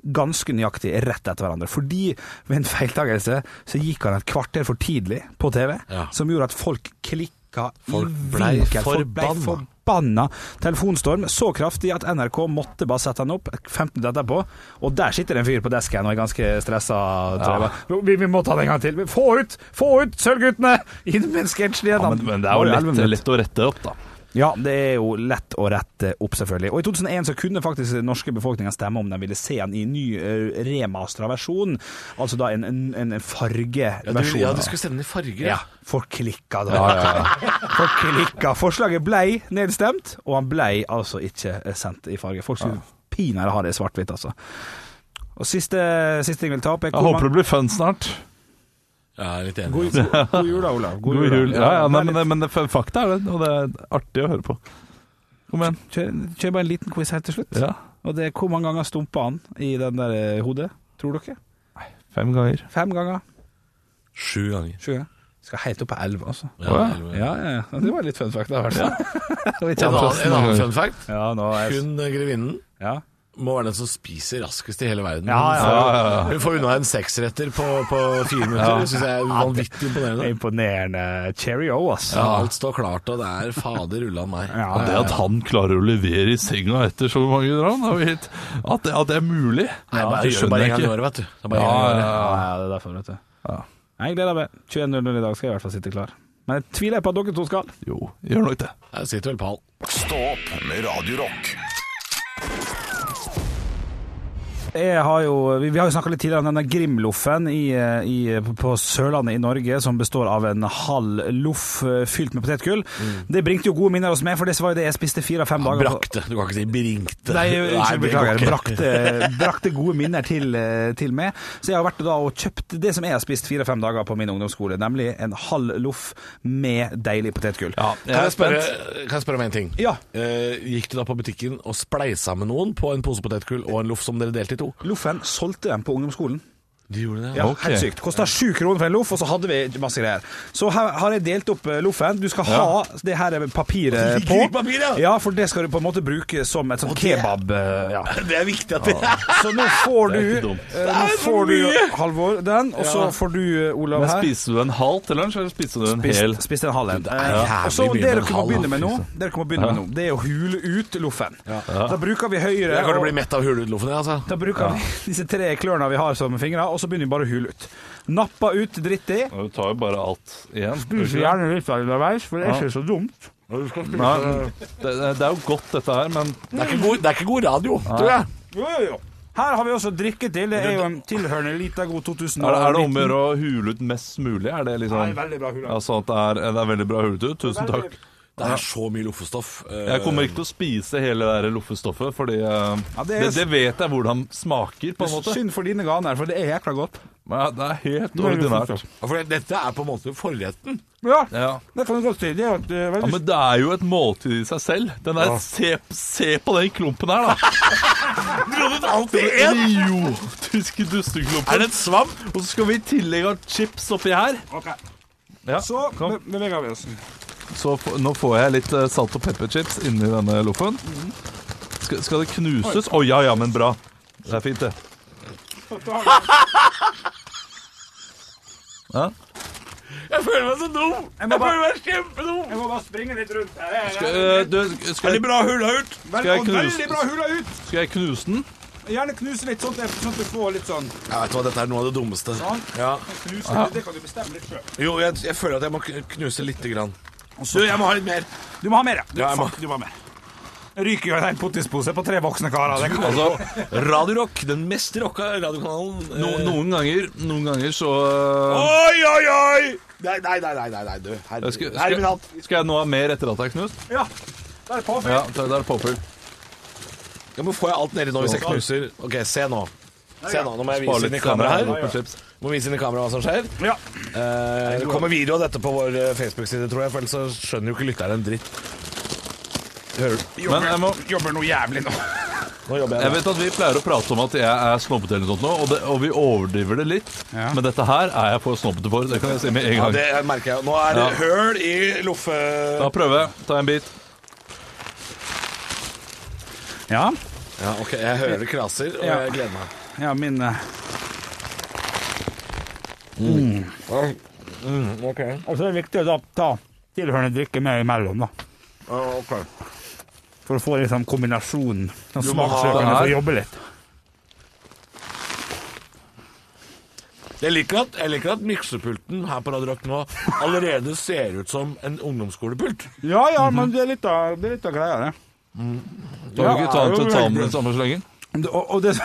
[SPEAKER 5] Ganske nøyaktig rett etter hverandre. Fordi ved en feiltagelse så gikk han et kvarter for tidlig på TV,
[SPEAKER 3] Ja.
[SPEAKER 5] som gjorde at folk klikka
[SPEAKER 3] Folk
[SPEAKER 5] i
[SPEAKER 3] blei
[SPEAKER 5] vinkel. Folk blei
[SPEAKER 3] forbanna.
[SPEAKER 5] forbanna. Telefonstorm så kraftig at NRK måtte bare sette han opp 15 minutter etterpå. Og der sitter en fyr på desken og er ganske stressa. tror jeg. Bare, Vi, vi må ta det en gang til. Få ut! Få ut Sølvguttene! Inn med en sketsj igjen!
[SPEAKER 4] Ja, men, men det er
[SPEAKER 5] Bare
[SPEAKER 4] jo
[SPEAKER 5] 11
[SPEAKER 4] lett,
[SPEAKER 5] minutter.
[SPEAKER 4] lett å rette opp, da.
[SPEAKER 5] Ja, det er jo lett å rette opp, selvfølgelig. Og i 2001 så kunne faktisk den norske befolkninga stemme om de ville se den i ny uh, remastra versjon. Altså da en, en, en
[SPEAKER 3] Ja, du,
[SPEAKER 5] fargeversjon.
[SPEAKER 3] ja,
[SPEAKER 5] av
[SPEAKER 3] du
[SPEAKER 5] det.
[SPEAKER 3] skulle sende den i farger.
[SPEAKER 5] ja, folk klikka da. Folk klikka. Forslaget blei nedstemt, og han blei altså ikke eh, sendt i farge. Folk skulle pinadø ha det i svart-hvitt, altså. Og siste, siste ting jeg vil ta opp, er
[SPEAKER 4] Jeg håper det blir fun snart.
[SPEAKER 3] Ja, jeg er litt enig. altså.
[SPEAKER 5] God, god, god jul, da, Olav.
[SPEAKER 4] God jul. Ja, ja,
[SPEAKER 5] det
[SPEAKER 4] nei,
[SPEAKER 5] er
[SPEAKER 4] men, det- men det, fakta er det, og det er artig å høre på. Kom igjen.
[SPEAKER 5] litt- Kjør, kjør bare en liten quiz helt til slutt.
[SPEAKER 4] Ja,
[SPEAKER 5] Og det er hvor mange ganger stumpa han i den der eh, hodet, tror dere?
[SPEAKER 4] Fem ganger.
[SPEAKER 5] Fem ganger?
[SPEAKER 3] Sju ganger.
[SPEAKER 5] Sju ganger? Skal helt opp på elleve, altså.
[SPEAKER 3] Ja,
[SPEAKER 4] Åja.
[SPEAKER 3] elleve.
[SPEAKER 5] Ja, ja, ja. Det var litt fun fact, da, i hvert fall. Vi
[SPEAKER 3] En
[SPEAKER 5] kjenner
[SPEAKER 3] annen,
[SPEAKER 5] oss.
[SPEAKER 3] en annen fun fact.
[SPEAKER 5] Ja, nå er jeg...
[SPEAKER 3] Hun eh, grevinnen
[SPEAKER 5] ja.
[SPEAKER 3] må være den som spiser raskest i hele verden.
[SPEAKER 5] Ja, ja,
[SPEAKER 4] ja,
[SPEAKER 3] Hun får unna en seksretter på, på fire minutter. Det syns jeg er vanvittig imponerende.
[SPEAKER 5] Imponerende cheerio, ass.
[SPEAKER 3] Ja, alt står klart, og det er fader ulla meg.
[SPEAKER 5] Ja,
[SPEAKER 4] Og det at han klarer å levere i senga etter så mange dram, det er jo helt- at, det- at det er mulig,
[SPEAKER 3] Nei,
[SPEAKER 4] ja,
[SPEAKER 3] bare, gjør det
[SPEAKER 4] det
[SPEAKER 3] bare
[SPEAKER 4] skjønner
[SPEAKER 3] en
[SPEAKER 4] jeg
[SPEAKER 3] gang i
[SPEAKER 4] ikke.
[SPEAKER 3] året, vet du. Det er bare en
[SPEAKER 4] Ja,
[SPEAKER 3] gang i året.
[SPEAKER 4] ja, ja.
[SPEAKER 5] ja, det er derfor, vet du. Jeg gleder meg. 21.00 i dag skal jeg i hvert fall sitte klar. Men jeg tviler på at dere to skal.
[SPEAKER 4] Jo, gjør nok det.
[SPEAKER 3] Jeg sitter vel pal.
[SPEAKER 1] Stå opp med Radio Rock.
[SPEAKER 5] Jeg har jo, vi, vi har jo snakka litt tidligere om denne Grimloffen i, eh, i, på Sørlandet i Norge, som består av en halv loff eh, fylt med potetgull. Det bringte jo gode minner hos meg, for det var jo det jeg spiste fire-fem dager på-
[SPEAKER 3] Brakte. Du kan ikke si bringte.
[SPEAKER 5] Nei, unnskyld,
[SPEAKER 3] det går
[SPEAKER 5] beklager.
[SPEAKER 3] ikke.
[SPEAKER 5] Brakte, eh, brakte gode minner til, eh, til meg. Så jeg har vært da og kjøpt det som jeg har spist fire-fem dager på min ungdomsskole, nemlig en halv loff med deilig potetgull.
[SPEAKER 4] Ja,
[SPEAKER 3] Kan jeg, spørre, kan jeg spørre om en ting?
[SPEAKER 5] Ja.
[SPEAKER 3] Eh, gikk du da på butikken og spleisa med noen på en pose potetgull og en loff som dere delte i to?
[SPEAKER 5] Loffen solgte dem på ungdomsskolen.
[SPEAKER 3] De gjorde det?
[SPEAKER 5] Ja,
[SPEAKER 4] Ok.
[SPEAKER 5] helt sykt. Kosta sju kroner for en loff, og så hadde vi masse greier. Så her har jeg delt opp eh, loffen. Du skal ha det her eh, papiret på.
[SPEAKER 3] Ligger i papiret, ja.
[SPEAKER 5] Ja, for det skal du på en måte bruke som et sånt
[SPEAKER 3] det-
[SPEAKER 5] kebab... eh, Ja.
[SPEAKER 3] Det er viktig at det
[SPEAKER 5] Så nå får
[SPEAKER 4] Det er ikke
[SPEAKER 5] du,
[SPEAKER 4] dumt.
[SPEAKER 5] eh, nå får du Halvor den, og så
[SPEAKER 3] Ja.
[SPEAKER 5] får du eh, Olav
[SPEAKER 4] Men
[SPEAKER 5] her.
[SPEAKER 4] spiser du en halv til lunsj, eller spiser du en hel?
[SPEAKER 5] Spist, spist en halv en.
[SPEAKER 3] er
[SPEAKER 5] Eh,
[SPEAKER 3] jævlig
[SPEAKER 5] og så
[SPEAKER 3] mye
[SPEAKER 5] det dere
[SPEAKER 3] med en
[SPEAKER 5] må
[SPEAKER 3] halv,
[SPEAKER 5] begynne med nå, dere må begynne med nå, det er å hule ut loffen. Da bruker vi høyre
[SPEAKER 3] Jeg kan
[SPEAKER 5] og-
[SPEAKER 3] bli mett av hulutloffen, jeg, altså.
[SPEAKER 5] Da bruker vi disse tre klørne vi har som fingre, og så begynner vi bare å hule ut. Nappa ut dritt i.
[SPEAKER 4] Du tar jo bare alt igjen.
[SPEAKER 5] Spiser gjerne litt underveis, for det er ikke så dumt.
[SPEAKER 4] Nei, det, det er jo godt dette her, men
[SPEAKER 3] Det er ikke god, det er ikke god radio, tror jeg.
[SPEAKER 5] Jo, jo, jo. Her har vi også drikke til. Det er jo en tilhørende lita god 2000.
[SPEAKER 4] er det, er det om å gjøre å hule ut mest mulig? Er det liksom
[SPEAKER 5] Nei, veldig bra hule.
[SPEAKER 4] Altså at det er, det er veldig bra hulet ut? Tusen takk.
[SPEAKER 3] Det er så mye loffestoff. eh,
[SPEAKER 4] Jeg kommer ikke til å spise hele det der loffestoffet, fordi eh,
[SPEAKER 5] det
[SPEAKER 4] det,
[SPEAKER 5] er-
[SPEAKER 4] det, vet jeg hvordan smaker, på en måte.
[SPEAKER 5] Synd for dine ganer, for det er jækla godt.
[SPEAKER 4] Men ja, det er helt ordinært.
[SPEAKER 3] For dette er på en måte forretten.
[SPEAKER 5] Ja,
[SPEAKER 4] Ja.
[SPEAKER 5] det kan du godt si. Det er jo et eh,
[SPEAKER 4] Ja,
[SPEAKER 5] veldig
[SPEAKER 4] men det er jo et måltid i seg selv. Den der, se, se på den klumpen her, da!
[SPEAKER 3] Alt i
[SPEAKER 4] Den
[SPEAKER 3] én!
[SPEAKER 4] Idiotiske
[SPEAKER 3] Er
[SPEAKER 4] dusteklumpen.
[SPEAKER 3] det en svamp?
[SPEAKER 4] Og så skal vi i tillegg ha chips oppi her.
[SPEAKER 5] Ok.
[SPEAKER 4] Ja,
[SPEAKER 5] Så be- beveger vi oss.
[SPEAKER 4] Så f nå får jeg litt eh, salt og pepperchips inni denne loffen. Skal, skal det knuses? Å ja, ja, men bra. Det er fint, det. Ja.
[SPEAKER 3] Jeg føler meg så dum! Jeg,
[SPEAKER 5] må bare-
[SPEAKER 3] føler meg kjempedum!
[SPEAKER 5] Jeg må bare springe litt rundt her.
[SPEAKER 4] Eh, Du, skal, jeg,
[SPEAKER 3] bra hula ut?
[SPEAKER 4] skal jeg knuse-
[SPEAKER 5] bra hula ut.
[SPEAKER 4] skal jeg knuse den?
[SPEAKER 5] Gjerne knuse litt, sånn at sånn at du får litt sånn
[SPEAKER 3] Jeg vet hva, Dette er noe av det dummeste.
[SPEAKER 5] Sånn.
[SPEAKER 3] Ja.
[SPEAKER 5] knuse litt, Det kan du bestemme litt sjøl.
[SPEAKER 3] Jo, jeg, jeg føler at jeg må kn- knuse lite grann. Du, jeg må ha litt mer.
[SPEAKER 5] Du må ha mer, ja. Du,
[SPEAKER 3] Ja, jeg må.
[SPEAKER 5] fuck, du må ha mer. Jeg Ryker jo en hel pottispose på tre voksne karer. Det kan
[SPEAKER 4] Altså,
[SPEAKER 3] Radio Rock, den mest rocka radiokanalen. eh,
[SPEAKER 4] no, noen ganger Noen ganger så eh,
[SPEAKER 3] Oi, oi, oi! Nei, nei, nei, nei, nei, nei du.
[SPEAKER 4] jeg
[SPEAKER 3] Herregud.
[SPEAKER 4] skal,
[SPEAKER 3] Nei,
[SPEAKER 4] skal,
[SPEAKER 3] men alt.
[SPEAKER 4] skal jeg nå ha mer etter at det er knust?
[SPEAKER 5] Ja, da er det påfyll.
[SPEAKER 4] Ja, da da er det påfyll.
[SPEAKER 3] Ja, men får jeg alt nedi nå hvis jeg knuser? Ok, se nå. Se nå, nå må jeg
[SPEAKER 4] Spar
[SPEAKER 3] vise
[SPEAKER 4] litt
[SPEAKER 3] inn i kamera
[SPEAKER 4] senere,
[SPEAKER 3] her.
[SPEAKER 4] pepperchips.
[SPEAKER 3] Må vise inn i kamera hva som skjer.
[SPEAKER 5] Ja.
[SPEAKER 3] Eh, det kommer video av dette på vår eh, Facebook-side, tror jeg, for ellers så skjønner jo ikke lytteren en dritt. Hører du?
[SPEAKER 4] Men jeg må
[SPEAKER 5] Jobber noe jævlig nå.
[SPEAKER 3] Nå jobber
[SPEAKER 4] Jeg
[SPEAKER 3] jeg.
[SPEAKER 4] vet at vi pleier å prate om at jeg er snobbete eller noe sånt nå, og, det, og vi overdriver det litt.
[SPEAKER 5] Ja.
[SPEAKER 4] Men dette her er jeg for snobbete for. Det kan jeg si med en
[SPEAKER 3] Ja,
[SPEAKER 4] gang.
[SPEAKER 3] det merker jeg. Nå er det
[SPEAKER 4] Ja.
[SPEAKER 3] høl i loffe...
[SPEAKER 4] Da prøver jeg. Ta en bit.
[SPEAKER 5] Ja.
[SPEAKER 3] Ja, ok, jeg hører det kraser, og
[SPEAKER 5] Ja.
[SPEAKER 3] jeg gleder meg.
[SPEAKER 5] ja, min eh,
[SPEAKER 4] Mm,
[SPEAKER 3] Ok.
[SPEAKER 5] Og så er altså, det viktig å da ta tilhørende drikke med imellom, da. For å få liksom kombinasjonen. Den
[SPEAKER 3] Du må ha
[SPEAKER 5] smaksløkene
[SPEAKER 4] det her.
[SPEAKER 5] får jobbe litt.
[SPEAKER 3] Jeg liker at, jeg liker at miksepulten her på Radio Rock nå allerede ser ut som en ungdomsskolepult.
[SPEAKER 5] Ja ja,
[SPEAKER 3] Mhm.
[SPEAKER 5] men det er litt av, det er litt av greia, det.
[SPEAKER 4] Da kan vi ikke ta den
[SPEAKER 5] Ja,
[SPEAKER 4] til
[SPEAKER 5] det er
[SPEAKER 4] talen
[SPEAKER 5] veldig.
[SPEAKER 4] i samme slengen.
[SPEAKER 5] Det- Og, og det,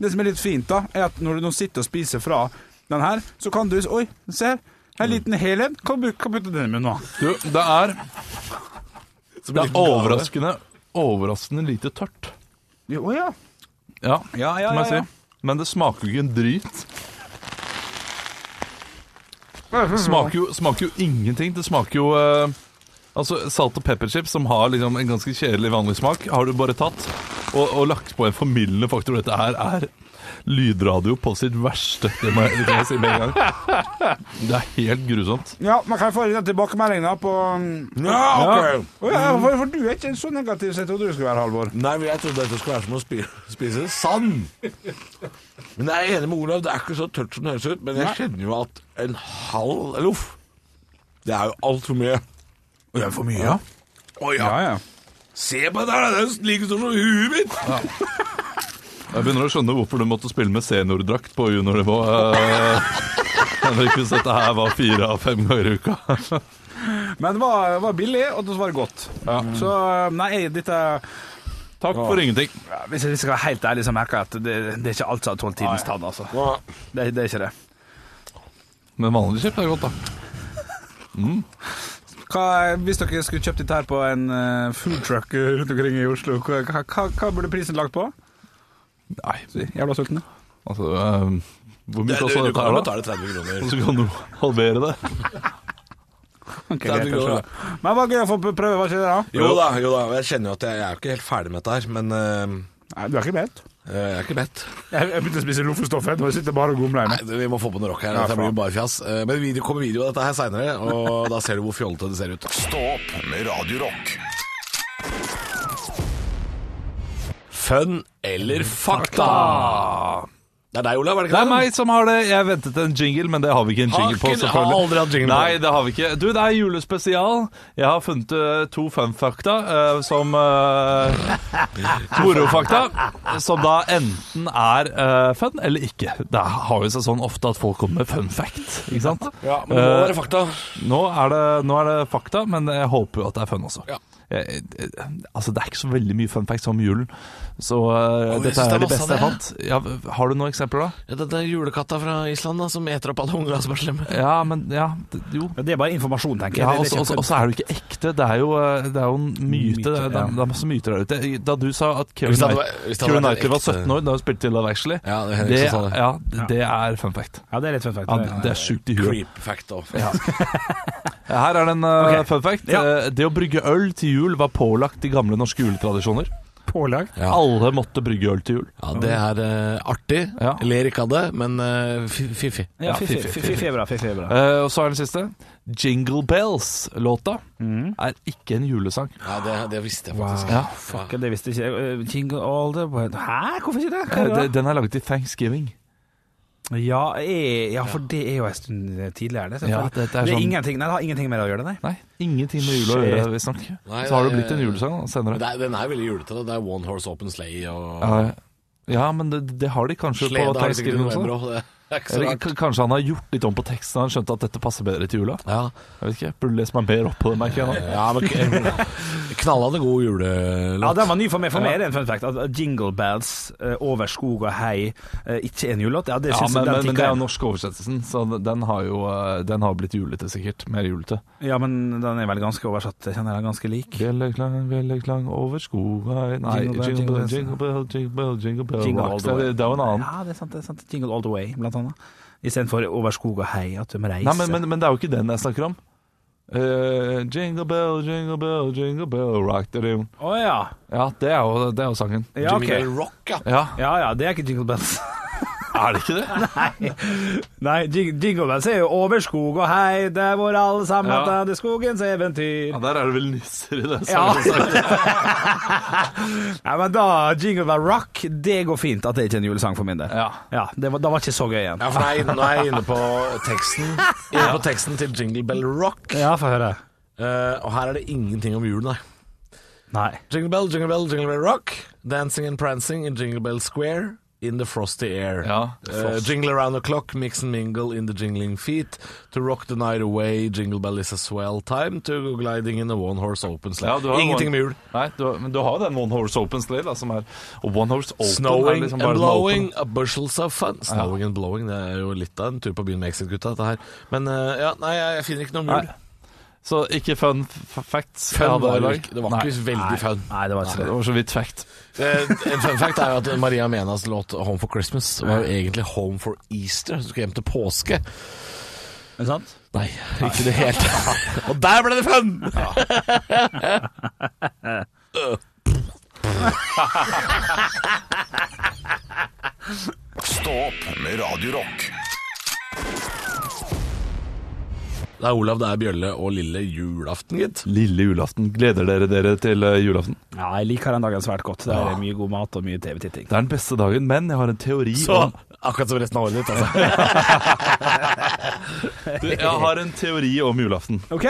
[SPEAKER 5] det som er litt fint, da, er at når du nå sitter og spiser fra den her, så kan du Oi, se her. En liten hel en. Hva bu- hva putter du den i munnen nå?
[SPEAKER 4] Du, det er Det er overraskende Overraskende lite tørt.
[SPEAKER 5] Jo, Å ja.
[SPEAKER 4] Ja,
[SPEAKER 5] Ja, ja,
[SPEAKER 4] det må jeg
[SPEAKER 5] ja, ja.
[SPEAKER 4] si. Men det smaker jo ikke en drit. Smaker jo, smaker jo ingenting. Det smaker jo eh, Altså, Salt og pepperchips, som har liksom en ganske kjedelig vanlig smak, har du bare tatt og, og lagt på en formildende faktor. Dette her er lydradio på sitt verste. Det må jeg, det kan jeg si med en gang. Det er helt grusomt.
[SPEAKER 5] Ja, man kan få litt tilbakemelding da på Mm.
[SPEAKER 3] Ja, ok.
[SPEAKER 5] Å ja, for, for du er ikke så negativ som jeg trodde du skulle være, Halvor.
[SPEAKER 3] Nei, men jeg trodde dette skulle være som å spi spise sand. Men jeg er enig med Olav, det er ikke så tørt som det høres ut, men jeg kjenner jo at en halv loff, det er jo altfor mye.
[SPEAKER 5] Det er for mye, ja.
[SPEAKER 3] Å ja,
[SPEAKER 5] Ja, ja.
[SPEAKER 3] se på det her, det er jo like stor som huet mitt!
[SPEAKER 4] Jeg begynner å skjønne hvorfor du måtte spille med seniordrakt på juniornivå. eh, Henrik, hvis dette her var fire av fem ganger i uka.
[SPEAKER 5] Men det var, var billig, og det var godt. Så eh, nei, dette
[SPEAKER 4] Takk for ingenting.
[SPEAKER 5] ja, Hvis jeg skal være helt ærlig, så merker jeg at det, det er ikke alt som har tålt tidens tann, altså. Det, det er ikke det.
[SPEAKER 4] Men vanlig kjøpt er godt, da.
[SPEAKER 5] Hva, hvis dere skulle kjøpt dette her på en eh, foodtruck rundt omkring i Oslo, hva, hva, hva- hva burde prisen lagt på?
[SPEAKER 4] Nei,
[SPEAKER 5] Jævla sultne.
[SPEAKER 4] altså ehm, Hvor mye
[SPEAKER 3] Du,
[SPEAKER 4] kosta
[SPEAKER 3] du
[SPEAKER 4] dette
[SPEAKER 3] kan jo
[SPEAKER 4] her, da?
[SPEAKER 3] betale 30 kroner.
[SPEAKER 4] Så kan du halvere det.
[SPEAKER 5] Ok,
[SPEAKER 3] er
[SPEAKER 5] greit, jeg
[SPEAKER 3] mye
[SPEAKER 5] skjønner.
[SPEAKER 3] godt,
[SPEAKER 5] Men det var gøy å få prøve, var ikke det? da?
[SPEAKER 3] Jo da, jo da, jeg kjenner jo at jeg, jeg er jo ikke helt ferdig med dette her, men eh,
[SPEAKER 5] Nei, du er ikke ment.
[SPEAKER 3] Eh, Jeg er ikke mett.
[SPEAKER 5] Jeg jeg begynte å spise loffestoffet, og jeg sitter bare og gomler
[SPEAKER 3] Nei, vi må få på noe rock her.
[SPEAKER 5] Ja,
[SPEAKER 3] Dette blir
[SPEAKER 5] faen.
[SPEAKER 3] jo bare fjas. Eh, Men video, kommer video av dette her seinere, og da ser du hvor fjollete det ser ut.
[SPEAKER 1] Stå opp med Radio Rock.
[SPEAKER 3] Fun eller fakta? Det er deg, Olav, er det
[SPEAKER 4] Det
[SPEAKER 3] ikke
[SPEAKER 4] er meg som har det. Jeg ventet en jingle, men det har vi ikke en
[SPEAKER 3] Har
[SPEAKER 4] jingle på.
[SPEAKER 3] ikke-
[SPEAKER 4] selvfølgelig.
[SPEAKER 3] har aldri hatt jingle på.
[SPEAKER 4] Nei, det har vi ikke. Du, det er julespesial. Jeg har funnet eh, to funfakta eh, som eh, Morofakta. Som da enten er eh, fun eller ikke. Det har jo seg sånn ofte at folk kommer med fun fact, ikke sant?
[SPEAKER 3] Ja, men det må
[SPEAKER 4] Eh,
[SPEAKER 3] være fakta.
[SPEAKER 4] nå er, det, nå er det fakta, men jeg håper jo at det er fun også.
[SPEAKER 3] Ja.
[SPEAKER 4] Jeg, jeg, altså, det er ikke så veldig mye fun facts om julen, så eh,
[SPEAKER 3] jeg
[SPEAKER 4] dette
[SPEAKER 3] synes det er
[SPEAKER 4] er det
[SPEAKER 3] masse av
[SPEAKER 4] beste jeg fant. Ja, har du noen eksempler, da?
[SPEAKER 3] Ja, Dette er julekatta fra Island da, som eter opp alle ungene som er slemme.
[SPEAKER 4] Ja, men ja, d- jo.
[SPEAKER 5] Det er bare informasjon, tenker jeg.
[SPEAKER 4] Ja,
[SPEAKER 5] Det-
[SPEAKER 4] og
[SPEAKER 5] det er ikke-
[SPEAKER 4] så er det jo ikke ekte. Det er jo, eh, det er jo en myte.
[SPEAKER 5] Myte,
[SPEAKER 4] det, er,
[SPEAKER 5] ja.
[SPEAKER 4] det er masse myter der ute. Da du sa at Kevin
[SPEAKER 3] Hvis det hadde
[SPEAKER 4] Knight-
[SPEAKER 3] vært- hvis det hadde vært en
[SPEAKER 4] Keira Knightley var
[SPEAKER 3] ekte-
[SPEAKER 4] 17 år da hun spilte i Love Actually,
[SPEAKER 3] Ja, det er sånn. Henrik
[SPEAKER 4] det,
[SPEAKER 3] som sa det.
[SPEAKER 4] ja, d- det er fun fact.
[SPEAKER 5] Ja, det er litt fun fact.
[SPEAKER 4] Ja,
[SPEAKER 5] det-
[SPEAKER 4] det er sjukt i huet.
[SPEAKER 3] Creep fact off.
[SPEAKER 4] Her er det en eh,
[SPEAKER 5] Ok.
[SPEAKER 4] fun fact.
[SPEAKER 5] Ja.
[SPEAKER 4] Eh, Det å brygge øl til jul var pålagt i gamle norske juletradisjoner.
[SPEAKER 5] Pålag?
[SPEAKER 3] Ja.
[SPEAKER 4] Alle måtte brygge øl til jul.
[SPEAKER 3] Ja, det er eh, artig.
[SPEAKER 4] Ja.
[SPEAKER 3] Ler ikke av det, men eh, fi- fiffig.
[SPEAKER 5] Ja, fy- fy-
[SPEAKER 4] fy- fy-
[SPEAKER 5] fy- fy er bra. fy- fy er bra.
[SPEAKER 4] Eh, og så er den siste. Jingle Bells-låta
[SPEAKER 5] Mm.
[SPEAKER 4] er ikke en julesang.
[SPEAKER 3] Ja, det, det visste jeg faktisk.
[SPEAKER 4] Ja.
[SPEAKER 5] Ok, Det visste ikke jeg. Eh, Jingle all the way Hæ, hvorfor ikke det? Hva er
[SPEAKER 4] Eh,
[SPEAKER 5] det?
[SPEAKER 4] Den er laget i Thanksgiving.
[SPEAKER 5] da? Ja, eh, ja, for det er jo en stund eh, tidligere, det. selvfølgelig.
[SPEAKER 4] Ja,
[SPEAKER 5] det,
[SPEAKER 4] det- det
[SPEAKER 5] er
[SPEAKER 4] er sånn-
[SPEAKER 5] ingenting, nei, det har ingenting med det å gjøre, det, nei.
[SPEAKER 4] Nei, ingenting med jul å
[SPEAKER 5] Shit.
[SPEAKER 4] gjøre, visstnok.
[SPEAKER 3] Nei,
[SPEAKER 4] Så har det
[SPEAKER 3] nei,
[SPEAKER 4] blitt en julesang da,
[SPEAKER 3] Men
[SPEAKER 4] senere.
[SPEAKER 3] det er, den er veldig julete. da. Det er One Horse Open Sleigh og
[SPEAKER 4] Ja, ja, men det, det har de kanskje
[SPEAKER 3] Slede
[SPEAKER 4] på
[SPEAKER 3] har sikkert
[SPEAKER 4] Thanksgiving
[SPEAKER 3] november
[SPEAKER 4] også.
[SPEAKER 3] også. Det sånn. er ikke så
[SPEAKER 4] Eller
[SPEAKER 3] rart.
[SPEAKER 4] k- kanskje han har gjort litt om på teksten Han skjønte at dette passer bedre til jula
[SPEAKER 3] Ja,
[SPEAKER 4] Jeg vet ikke, burde lese meg mer opp på det merker jeg nå
[SPEAKER 3] ja men k- knallende god julelåt.
[SPEAKER 5] Ja, Den var ny for meg. For meg er det en fun fact. At at Jingle bells, eh, over skog og hei, eh, ikke en julelåt. Ja, det
[SPEAKER 4] ja,
[SPEAKER 5] synes
[SPEAKER 4] men,
[SPEAKER 5] jeg
[SPEAKER 4] men,
[SPEAKER 5] den
[SPEAKER 4] men det er
[SPEAKER 5] tikka
[SPEAKER 4] jo
[SPEAKER 5] inn.
[SPEAKER 4] norsk oversettelsen Så den- den har jo eh, den har blitt julete sikkert Mer julete
[SPEAKER 5] Ja, men den er vel ganske oversatt. Jeg kjenner den er ganske lik.
[SPEAKER 4] Bjelleklang, bjelleklang over skogen Nei, jingle
[SPEAKER 5] Jingle bell,
[SPEAKER 4] bell,
[SPEAKER 5] jingle bells.
[SPEAKER 4] jingle bell, jingle bell, jingle bell
[SPEAKER 5] Jingle all
[SPEAKER 4] rocks.
[SPEAKER 5] the way.
[SPEAKER 4] Det, det er jo en annen
[SPEAKER 5] Ja, det er sant. det er sant Jingle all the way, blant annet. Istedenfor over skog og hei, at de reiser.
[SPEAKER 4] Nei, men, men, men det er jo ikke den jeg snakker om Eh, Jingle bell, jingle bell, jingle bell rock the room.
[SPEAKER 5] Å ja.
[SPEAKER 4] Ja, det er jo, det er jo sangen
[SPEAKER 5] Ja, ok.
[SPEAKER 3] Jingle Rock, ja.
[SPEAKER 4] Ja,
[SPEAKER 5] ja ja, det er ikke jingle bells.
[SPEAKER 4] er det ikke det?
[SPEAKER 5] Nei, jing jingle bells er jo over skog og hei, der hvor alle sammen
[SPEAKER 4] Ja.
[SPEAKER 5] hadde skogens eventyr.
[SPEAKER 4] Ja, der er det vel nisser i det.
[SPEAKER 5] Ja.
[SPEAKER 4] sangen også.
[SPEAKER 5] Nei, men da Jingle bell rock, det går fint at det ikke er en julesang for min del.
[SPEAKER 4] Ja.
[SPEAKER 5] det var, Da var ikke så gøy igjen.
[SPEAKER 3] Ja, for nå er jeg inne- nå er jeg inne på teksten Inne på teksten til Jingle Bell Rock.
[SPEAKER 5] Ja, få høre.
[SPEAKER 3] Eh, og her er det ingenting om jul, nei.
[SPEAKER 5] Nei.
[SPEAKER 3] Jingle Bell, Jingle Bell, Jingle Bell Rock. Dancing and prancing in Jingle Bell Square. In the frosty air.
[SPEAKER 4] Ja,
[SPEAKER 3] Eh, jingle around the clock, mix and mingle in the jingling feet. To rock the night away, jingle bell is a swell time. To go gliding in a one horse open sleigh.
[SPEAKER 4] Ja, du har
[SPEAKER 3] Ingenting
[SPEAKER 4] one-
[SPEAKER 3] med jul.
[SPEAKER 4] Nei, du, har- men du har jo den One Horse Open Slay, da, som er Og One Horse Open er
[SPEAKER 3] Snowing
[SPEAKER 4] liksom bare
[SPEAKER 3] and
[SPEAKER 4] den
[SPEAKER 3] blowing,
[SPEAKER 4] open.
[SPEAKER 3] a bushels of fun. Snowing and blowing, det er jo litt av en tur på byen med Exit-gutta, dette her. Men eh, ja, nei, jeg jeg finner ikke noe om jul.
[SPEAKER 4] Nei. Så ikke fun f facts. jeg
[SPEAKER 3] Fun
[SPEAKER 4] hadde
[SPEAKER 3] var
[SPEAKER 4] i
[SPEAKER 3] det
[SPEAKER 4] dag.
[SPEAKER 3] ikke. Det var ikke veldig fun.
[SPEAKER 5] Nei, det var
[SPEAKER 4] Nei, det
[SPEAKER 5] ikke det.
[SPEAKER 4] var så vidt fact.
[SPEAKER 3] Eh, En fun fact er jo at Maria Menas låt 'Home for Christmas' var jo egentlig 'Home for Easter'. Så skulle hjem til påske.
[SPEAKER 5] Er det sant?
[SPEAKER 3] Nei, ikke i det hele tatt. Og der ble det fun!
[SPEAKER 1] Stå opp med Radio Rock.
[SPEAKER 3] Det er Olav, det er Bjølle og Lille julaften, gitt.
[SPEAKER 4] Lille julaften. Gleder dere dere til eh, julaften?
[SPEAKER 5] Ja, jeg liker den dagen svært godt. Det er mye god mat og mye TV-titting.
[SPEAKER 4] Det er den beste dagen, men jeg har en teori om
[SPEAKER 3] akkurat som resten av året ditt, altså.
[SPEAKER 4] du, Jeg har en teori om julaften.
[SPEAKER 5] OK.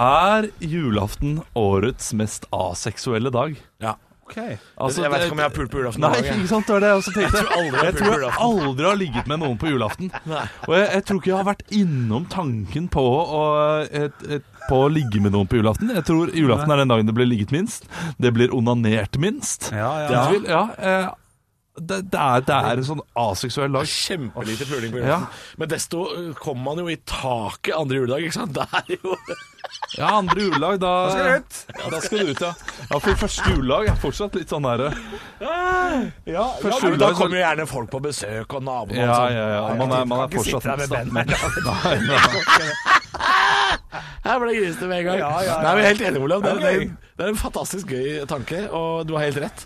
[SPEAKER 4] Er julaften årets mest aseksuelle dag?
[SPEAKER 3] Ja.
[SPEAKER 4] Altså,
[SPEAKER 3] jeg vet
[SPEAKER 4] det-
[SPEAKER 3] ikke om jeg har pult på julaften.
[SPEAKER 4] Nei,
[SPEAKER 3] noen gang, jeg.
[SPEAKER 4] ikke sant? Det var det jeg også tenkte.
[SPEAKER 3] tror aldri jeg har
[SPEAKER 4] Jeg
[SPEAKER 3] pult på
[SPEAKER 4] tror jeg
[SPEAKER 3] julaften.
[SPEAKER 4] aldri har ligget med noen på julaften. Og jeg, jeg tror ikke jeg har vært innom tanken på å, et, et, på å ligge med noen på julaften. Jeg tror julaften er den dagen det blir ligget minst. Det blir onanert minst.
[SPEAKER 5] Ja, ja.
[SPEAKER 4] Det, vil, ja, eh, det, det, er, det er en sånn aseksuell dag.
[SPEAKER 3] Kjempelite puling på
[SPEAKER 4] Ja.
[SPEAKER 3] julaften. Men desto eh, kommer man jo i taket andre juledag, ikke sant. Det er jo
[SPEAKER 4] Ja, andre julelag, da
[SPEAKER 5] skal du ut.
[SPEAKER 4] Ja, da skal du ut, ja. ja for første julelag er fortsatt litt sånn herre Første
[SPEAKER 3] Men Da
[SPEAKER 4] juledag så-
[SPEAKER 3] kommer jo gjerne folk på besøk, og naboen
[SPEAKER 4] Ja,
[SPEAKER 3] og sånn.
[SPEAKER 4] ja, ja. Man er, man er fortsatt
[SPEAKER 5] sitte her med
[SPEAKER 4] statmen.
[SPEAKER 5] band.
[SPEAKER 4] Nei, nei.
[SPEAKER 3] Her ble det grisete med en gang.
[SPEAKER 5] Ja, ja, ja.
[SPEAKER 3] Nei, men jeg er helt enig, Olav. Det,
[SPEAKER 5] Ja,
[SPEAKER 3] det,
[SPEAKER 5] gøy.
[SPEAKER 3] det er en fantastisk gøy tanke, og du har helt rett.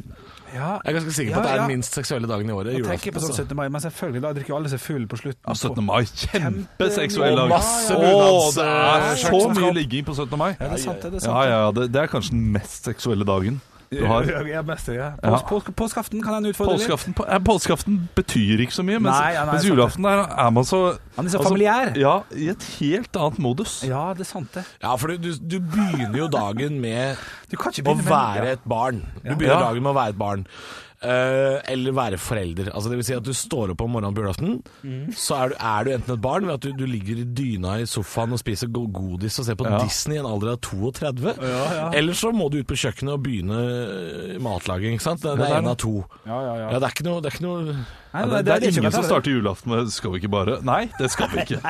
[SPEAKER 5] Ja.
[SPEAKER 3] Jeg er ganske sikker på
[SPEAKER 5] Ja,
[SPEAKER 3] at det er
[SPEAKER 5] ja.
[SPEAKER 3] den minst seksuelle dagen i året.
[SPEAKER 5] Jeg
[SPEAKER 3] Julaften.
[SPEAKER 5] tenker på sånn
[SPEAKER 3] altså.
[SPEAKER 5] 17. mai, men selvfølgelig, da drikker jo alle seg full på slutten.
[SPEAKER 4] Ja, 17. mai. Kjempeseksuell
[SPEAKER 5] Kjempe- eh,
[SPEAKER 4] dag.
[SPEAKER 3] Og masse
[SPEAKER 4] Å,
[SPEAKER 3] bunads-
[SPEAKER 4] det er så
[SPEAKER 3] skjørt som
[SPEAKER 4] mye
[SPEAKER 3] skal-
[SPEAKER 4] ligging på 17. mai.
[SPEAKER 5] Ja, det er sant, det, det er sant.
[SPEAKER 4] Ja, ja, det, det er kanskje den mest seksuelle dagen du har.
[SPEAKER 5] Ja, ja, best, ja.
[SPEAKER 4] Ja.
[SPEAKER 5] Pås, pås, påskeaften kan jeg utfordre litt.
[SPEAKER 4] Påskeaften, på- eh, påskeaften betyr ikke så mye, mens,
[SPEAKER 5] Nei, ja,
[SPEAKER 4] mens
[SPEAKER 5] nei, sant det.
[SPEAKER 4] julaften er, er man så
[SPEAKER 5] Han er så
[SPEAKER 4] altså,
[SPEAKER 5] familiær.
[SPEAKER 4] Ja, i et helt annet modus.
[SPEAKER 5] Ja, det er sant det.
[SPEAKER 3] Ja, for du, du begynner jo dagen med
[SPEAKER 5] Du kan ikke
[SPEAKER 3] å
[SPEAKER 5] begynne med
[SPEAKER 3] være et barn. Du begynner
[SPEAKER 4] Ja.
[SPEAKER 3] dagen med å være et barn. Eh, eller være forelder. Altså, det vil si at du står opp om morgenen på julaften, så er du, er du enten et barn ved at du, du ligger i dyna i sofaen og spiser go- godis og ser på
[SPEAKER 4] Ja.
[SPEAKER 3] Disney i en alder av 32, eller så må du ut på kjøkkenet og begynne eh, matlaging. Ikke sant? Det, det
[SPEAKER 4] det er
[SPEAKER 3] er én
[SPEAKER 4] det.
[SPEAKER 3] av to.
[SPEAKER 5] Ja, ja, ja.
[SPEAKER 3] Ja, det er ikke noe, det er ikke noe
[SPEAKER 5] Nei,
[SPEAKER 4] Ja,
[SPEAKER 5] nei,
[SPEAKER 4] det, det er
[SPEAKER 5] ikke
[SPEAKER 4] ingen
[SPEAKER 5] godt,
[SPEAKER 4] som
[SPEAKER 5] det.
[SPEAKER 4] starter julaften med 'skal vi ikke bare'? Nei, det skal vi ikke.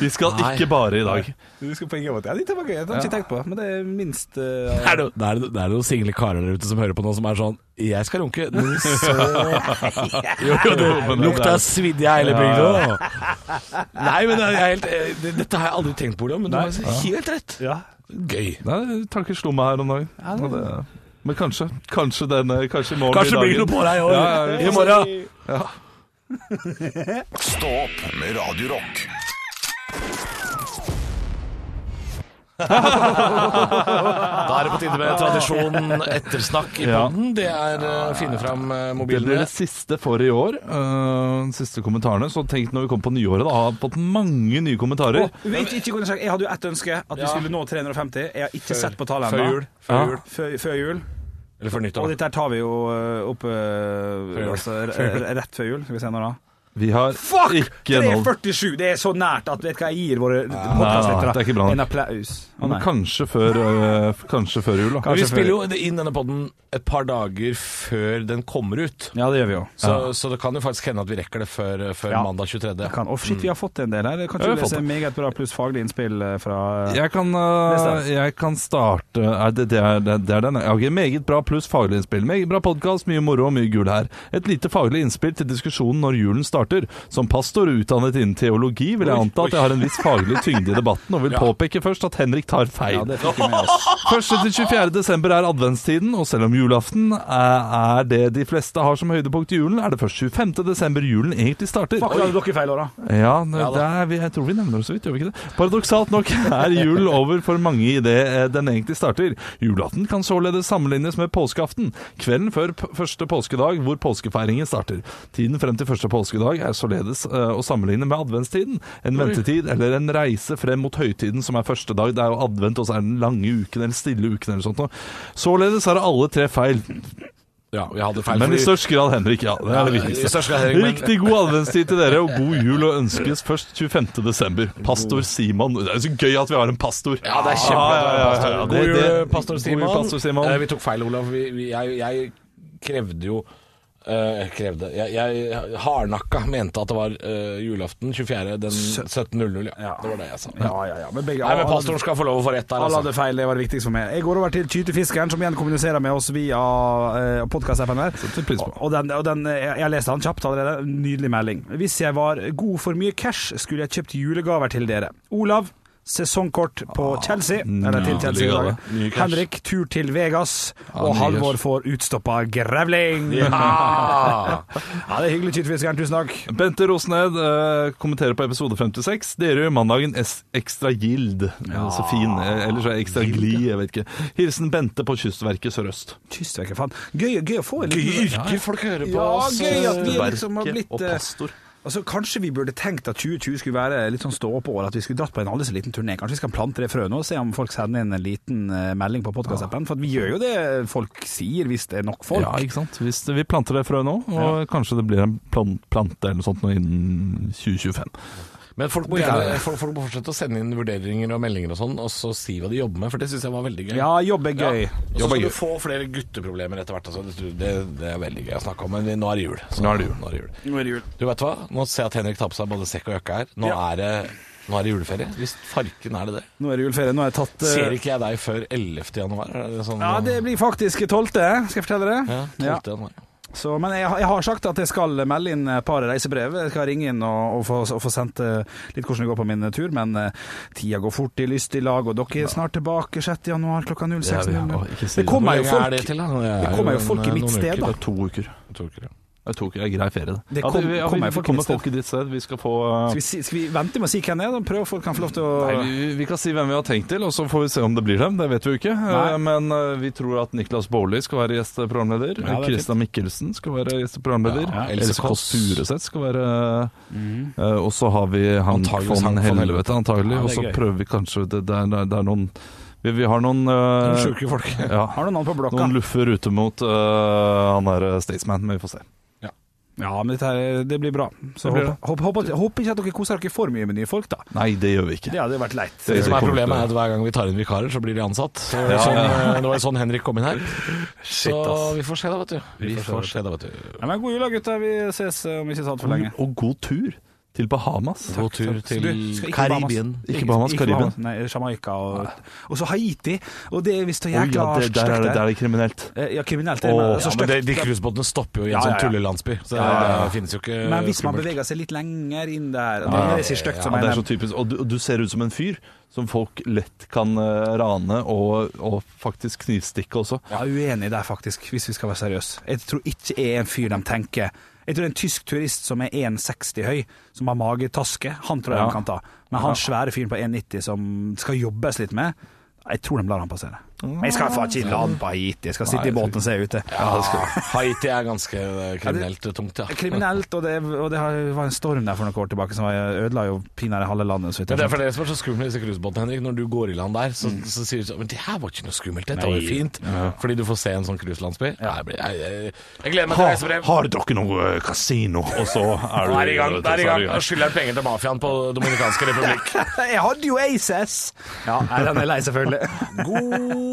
[SPEAKER 4] Vi skal
[SPEAKER 3] Nei.
[SPEAKER 4] ikke bare i dag.
[SPEAKER 5] Du skal på ingen måte. Ja, dette var gøy. Det har jeg ikke tenkt på, men det er minst eh,
[SPEAKER 3] det er, noe- det er, det er noen single karer der ute som hører på nå som er sånn Jeg skal runke. Du så Jo, jo, det
[SPEAKER 4] men det-
[SPEAKER 3] lukta svidd i hele bygda. Nei, men jeg er helt, eh, det- dette har jeg aldri tenkt på, Olav, men du har helt rett.
[SPEAKER 5] Ja.
[SPEAKER 3] Gøy.
[SPEAKER 4] Nei, tanken slo meg her om dagen. Og det- Men kanskje. Kanskje, denne, kanskje i morgen
[SPEAKER 3] Kanskje det
[SPEAKER 4] blir
[SPEAKER 3] blir noe
[SPEAKER 4] dagen.
[SPEAKER 3] på deg i
[SPEAKER 4] Ja,
[SPEAKER 3] år.
[SPEAKER 4] ja,
[SPEAKER 3] I morgen.
[SPEAKER 1] Stå opp med Radio Rock.
[SPEAKER 3] Da er det på tide med tradisjonen ettersnakk i
[SPEAKER 4] Ja.
[SPEAKER 3] poden. Det er eh, å finne fram eh,
[SPEAKER 4] Det blir
[SPEAKER 3] mobilene.
[SPEAKER 4] det siste for i år. eh, de siste kommentarene. Så tenk når vi kommer på nyåret, da. Har fått mange nye kommentarer.
[SPEAKER 5] Å, vet ikke hvordan jeg skal- Jeg hadde jo ett ønske, at vi
[SPEAKER 3] Ja.
[SPEAKER 5] skulle nå 350. Jeg har ikke sett på tallet
[SPEAKER 3] Før
[SPEAKER 5] ennå.
[SPEAKER 3] jul. Før
[SPEAKER 4] Ja.
[SPEAKER 3] jul.
[SPEAKER 5] Før, før jul.
[SPEAKER 3] Eller før
[SPEAKER 5] Og
[SPEAKER 3] nyttår.
[SPEAKER 5] dette her tar vi jo eh, opp eh,
[SPEAKER 3] jul.
[SPEAKER 5] altså, r-
[SPEAKER 3] Før jul.
[SPEAKER 5] r- rett før jul. Skal vi se nå, da.
[SPEAKER 4] Vi har
[SPEAKER 5] Fuck!
[SPEAKER 4] ikke nådd
[SPEAKER 5] 347! Det er så nært at vet du hva jeg gir våre
[SPEAKER 4] nei, det er ikke bra
[SPEAKER 5] podkastlyttere.
[SPEAKER 4] nok.
[SPEAKER 5] En applaus. Å,
[SPEAKER 4] men
[SPEAKER 5] nei.
[SPEAKER 4] kanskje før, eh, kanskje før jul, da.
[SPEAKER 5] Kanskje
[SPEAKER 3] Vi
[SPEAKER 5] før
[SPEAKER 3] spiller jo inn denne poden et par dager før den kommer ut.
[SPEAKER 5] Ja, det gjør vi jo.
[SPEAKER 3] Så, så det kan jo faktisk hende at vi rekker det før, før
[SPEAKER 5] Ja.
[SPEAKER 3] mandag 23.
[SPEAKER 5] Jeg Kan, å, shit, vi har fått en del her. Kan
[SPEAKER 4] Mm. Ja, vi
[SPEAKER 5] ikke du
[SPEAKER 4] har fått
[SPEAKER 5] lese meget bra pluss faglig innspill eh, fra eh,
[SPEAKER 4] Jeg kan, eh,
[SPEAKER 5] Neste.
[SPEAKER 4] jeg kan starte Nei, det, det, er, det, det er den. ja. Ok, meget bra pluss faglig innspill. Meget bra podkast, mye moro og mye gull her. Et lite faglig innspill til diskusjonen når julen starter. Som pastor utdannet innen teologi vil jeg anta at jeg har en viss faglig tyngde i debatten, og vil påpeke først at Henrik tar feil.
[SPEAKER 5] Ja, det fikk vi med oss.
[SPEAKER 4] 1. til 24. desember er adventstiden, og selv om julaften er, er det de fleste har som høydepunkt i julen, er det først 25. desember julen egentlig starter.
[SPEAKER 5] Fuck, da hadde dere feil år, da.
[SPEAKER 4] Ja, det, det er, vi- jeg tror vi nevner det så vidt, gjør vi ikke det? Paradoksalt nok er jul over for mange i det eh, den egentlig starter. Julaften kan således sammenlignes med påskeaften, kvelden før p første påskedag hvor påskefeiringen starter. Tiden frem til første påskedag er således eh, å sammenligne med adventstiden. En ventetid eller en reise frem mot høytiden som er første dag. Det er jo advent, og så er det den lange uken eller stille uken eller sånt noe. Således er det alle tre feil,
[SPEAKER 3] Ja, vi hadde feil.
[SPEAKER 4] men i
[SPEAKER 3] fordi-
[SPEAKER 4] størst grad Henrik, ja. Det er det
[SPEAKER 3] I
[SPEAKER 4] viktigste.
[SPEAKER 3] størst grad, Henrik, men-
[SPEAKER 4] Riktig god adventstid til dere, og god jul og ønskes først 25. desember. Pastor Simon. Det er så gøy at vi har en pastor.
[SPEAKER 3] Ja, det er kjempebra.
[SPEAKER 4] Ja, ja, ja, ja.
[SPEAKER 3] God
[SPEAKER 4] Det-
[SPEAKER 3] jul,
[SPEAKER 4] det-
[SPEAKER 3] pastor Simon.
[SPEAKER 4] God jul, pastor Simon.
[SPEAKER 3] Eh, vi tok feil, Olav. Vi, vi, jeg, jeg krevde jo eh, jeg krevde Jeg, jeg hardnakka mente at det var eh, julaften 24. den 17.00. Ja. Det var det jeg sa.
[SPEAKER 5] Ja, ja, ja. Men begge
[SPEAKER 3] Nei, men Pastoren skal få lov å få rett der,
[SPEAKER 5] Alle
[SPEAKER 3] altså.
[SPEAKER 5] hadde feil, det var det viktigste for meg. Jeg går over til Tytefiskeren, som igjen kommuniserer med oss via eh, podkast-appen her.
[SPEAKER 4] Setter pris på.
[SPEAKER 5] Og den, og den, eh, jeg jeg leste han kjapt allerede. Nydelig melding. Hvis jeg var god for mye cash, skulle jeg kjøpt julegaver til dere. Olav, sesongkort på
[SPEAKER 4] Ah,
[SPEAKER 5] Chelsea. Eller til Chelsea. i
[SPEAKER 4] julegave.
[SPEAKER 5] dag. Henrik, tur til Vegas. Og
[SPEAKER 4] ny
[SPEAKER 5] Halvor
[SPEAKER 4] cash.
[SPEAKER 5] får utstoppa grevling.
[SPEAKER 3] Ah,
[SPEAKER 5] Ja, det er hyggelig, Tytefiskeren. Tusen takk.
[SPEAKER 4] Bente Rosned eh, kommenterer på episode 56. Dere gjør mandagen es ekstra gild. Ja. Så fin. eh, Eller så er ekstra glid, jeg vet ikke. Hilsen Bente på Kystverket Sørøst.
[SPEAKER 5] Kystverket, faen. Gøy, gøy å få en liten
[SPEAKER 3] yrker folk hører på.
[SPEAKER 5] Ja,
[SPEAKER 3] oss. eh.
[SPEAKER 5] gøy at vi liksom har
[SPEAKER 4] Verket
[SPEAKER 5] blitt,
[SPEAKER 4] og
[SPEAKER 5] eh,
[SPEAKER 4] pastor.
[SPEAKER 5] Altså, Kanskje vi burde tenkt at 2020 skulle være litt sånn stå-opp-år, at vi skulle dratt på en aldri så liten turné. Kanskje vi skal plante det frøet nå, og se om folk sender inn en liten eh, melding på podkastappen. For at vi gjør jo det folk sier, hvis det er nok folk.
[SPEAKER 4] Ja, ikke sant. Hvis det, vi planter det frø nå, og kanskje det blir en plan plante eller noe sånt nå innen 2025.
[SPEAKER 3] Men folk må,
[SPEAKER 5] Det kan
[SPEAKER 3] gjerne,
[SPEAKER 5] jeg.
[SPEAKER 3] folk, folk må fortsette å sende inn vurderinger og meldinger og sånn, og så si hva de jobber med, for det syns jeg var veldig gøy.
[SPEAKER 5] Ja, jobb er gøy.
[SPEAKER 3] Ja. Og så skal du få flere gutteproblemer etter hvert. Altså. Det, det, det er veldig gøy å snakke om, men nå er det jul. Så
[SPEAKER 4] Nå er det jul.
[SPEAKER 3] Nå er det jul.
[SPEAKER 5] Nå er det jul.
[SPEAKER 3] Du vet hva? Nå ser jeg at Henrik tar på seg både sekk og jakke her. Nå,
[SPEAKER 5] Ja.
[SPEAKER 3] er, det, nå er det juleferie. Hvis farken er det det.
[SPEAKER 5] Nå er det juleferie. Nå har jeg tatt eh,
[SPEAKER 3] Ser ikke jeg deg før 11. januar? Er det sånn,
[SPEAKER 5] Ja, det blir faktisk 12., eh, skal jeg fortelle dere.
[SPEAKER 3] ja, 12.
[SPEAKER 5] Ja.
[SPEAKER 3] januar.
[SPEAKER 5] Så, men jeg, har- jeg har sagt at jeg skal melde inn et par reisebrev. Jeg skal ringe inn og, og, få, og få sendt eh, litt hvordan det går på min tur, men eh, tida går fort i lystig lag, og dere er snart tilbake 6. januar klokka 06.00. det kommer jo folk det kommer jo folk i mitt sted, da.
[SPEAKER 4] Det er to uker. Det er to uker, det er grei ferie, det.
[SPEAKER 5] Det
[SPEAKER 4] Ja,
[SPEAKER 5] kom-
[SPEAKER 4] vi- ja, vi-
[SPEAKER 5] kommer
[SPEAKER 4] vi
[SPEAKER 5] folk
[SPEAKER 4] kommer
[SPEAKER 5] i sted.
[SPEAKER 4] folk i ditt sted. Vi skal få
[SPEAKER 5] Skal vi, si, skal vi vente med å si hvem det er? da? Prøv, folk kan få lov til å
[SPEAKER 4] Nei, vi, vi kan si hvem vi har tenkt til, og så får vi se om det blir dem. Det vet vi jo ikke.
[SPEAKER 5] Nei.
[SPEAKER 4] Eh, Men eh, vi tror at Niklas Baarli skal være gjesteprogramleder.
[SPEAKER 5] Ja, det er
[SPEAKER 4] Christian Mikkelsen skal være gjesteprogramleder.
[SPEAKER 3] Ja, Else
[SPEAKER 4] Else Kåss
[SPEAKER 3] Kåss.
[SPEAKER 4] Furuseth skal være eh, Og så har vi han
[SPEAKER 3] Antageligvis
[SPEAKER 4] von
[SPEAKER 3] han von
[SPEAKER 4] Helvete,
[SPEAKER 3] Ja,
[SPEAKER 4] antagelig.
[SPEAKER 3] det er
[SPEAKER 4] og så
[SPEAKER 3] gøy.
[SPEAKER 4] prøver vi kanskje Det, det, er, det er noen Vi, vi har noen eh,
[SPEAKER 3] Noen sjuke folk.
[SPEAKER 4] Ja.
[SPEAKER 5] Har du noen på blokka?
[SPEAKER 4] Noen luffer ute mot eh, han der eh, Staysman, men vi får se.
[SPEAKER 5] Ja, men dette her, eh, det blir bra. Så
[SPEAKER 4] Det blir
[SPEAKER 5] håper håper- håper- håper ikke at dere koser dere for mye med nye folk, da.
[SPEAKER 4] Nei, det gjør vi ikke.
[SPEAKER 5] Det hadde vært leit.
[SPEAKER 4] Det
[SPEAKER 3] Det som er
[SPEAKER 4] kommer
[SPEAKER 3] problemet
[SPEAKER 4] til å-
[SPEAKER 3] er at hver gang vi tar inn vikarer, så blir de ansatt. Så, sånn, eh, det var jo sånn Henrik kom inn her.
[SPEAKER 4] Shit,
[SPEAKER 3] så
[SPEAKER 4] ass.
[SPEAKER 3] vi får se da, vet du. Vi får se da, vet du.
[SPEAKER 5] Ja, men god jul da, gutter. Vi ses eh, om ikke så altfor lenge.
[SPEAKER 4] Og god tur til Bahamas.
[SPEAKER 3] God tur
[SPEAKER 5] Så du, skal
[SPEAKER 3] til
[SPEAKER 5] ikke
[SPEAKER 3] Karibien.
[SPEAKER 5] Bahamas.
[SPEAKER 4] Ikke Bahamas, Karibien.
[SPEAKER 5] Nei, Jamaica og, og så Haiti. Og det er visst så
[SPEAKER 4] Oi,
[SPEAKER 5] jækla
[SPEAKER 4] ja, det, der, er det, der er det kriminelt.
[SPEAKER 5] Eh, Ja, kriminelt.
[SPEAKER 4] Åh,
[SPEAKER 5] det, men,
[SPEAKER 4] ja,
[SPEAKER 5] så
[SPEAKER 3] Ja, men det,
[SPEAKER 5] stygt.
[SPEAKER 3] de cruisebåtene stopper jo i en
[SPEAKER 5] Ja, ja,
[SPEAKER 3] sånn
[SPEAKER 5] ja.
[SPEAKER 3] tullelandsby. Så det, det finnes jo ikke
[SPEAKER 5] men hvis man
[SPEAKER 3] skummelt.
[SPEAKER 5] beveger seg litt lenger inn der Det
[SPEAKER 4] Ja,
[SPEAKER 5] er så stygt som
[SPEAKER 4] Ja, det er
[SPEAKER 5] jeg
[SPEAKER 4] så typisk. Og du, og du ser ut som en fyr som folk lett kan eh, rane og, og faktisk knivstikke også.
[SPEAKER 5] Jeg er uenig der, faktisk, hvis vi skal være seriøse. Jeg tror ikke jeg er en fyr de tenker Jeg tror det er en tysk turist som er 1,60 høy, som har magetaske, han tror jeg
[SPEAKER 4] Ja.
[SPEAKER 5] de kan ta. Men han svære fyren på 1,90 som skal jobbes litt med, jeg tror de lar han passere. Men jeg skal faen ikke lande på Haiti, Mm. jeg skal sitte
[SPEAKER 4] Nei,
[SPEAKER 5] i båten og se ute.
[SPEAKER 3] Ja, Haiti er ganske eh, kriminelt tungt, ja.
[SPEAKER 5] Kriminelt, og det, og det har- var en storm der for noen år tilbake som var- ødela jo pinadø halve landet. Så vidt jeg
[SPEAKER 3] Men det er for
[SPEAKER 5] skjønte.
[SPEAKER 3] det som er så skummelt med disse cruisebåtene, Henrik. Når du går i land der, så,
[SPEAKER 5] Mm.
[SPEAKER 3] så sier du sånn Men det her var ikke noe skummelt, dette var jo fint. Fordi du får se en sånn cruiselandsby. Ja. Jeg, blir- jeg, jeg, jeg gleder meg til reisebrev.
[SPEAKER 4] har dere noe eh, kasino? Og så er
[SPEAKER 3] Nå
[SPEAKER 4] du
[SPEAKER 3] er det i gang.
[SPEAKER 4] vet
[SPEAKER 3] Nå
[SPEAKER 4] du,
[SPEAKER 3] er det i
[SPEAKER 4] så
[SPEAKER 3] gang. Nå skylder han penger til mafiaen på Dominikanske republikk.
[SPEAKER 5] Jeg hadde jo Aces! Ja, nei, den er lei, selvfølgelig.
[SPEAKER 3] God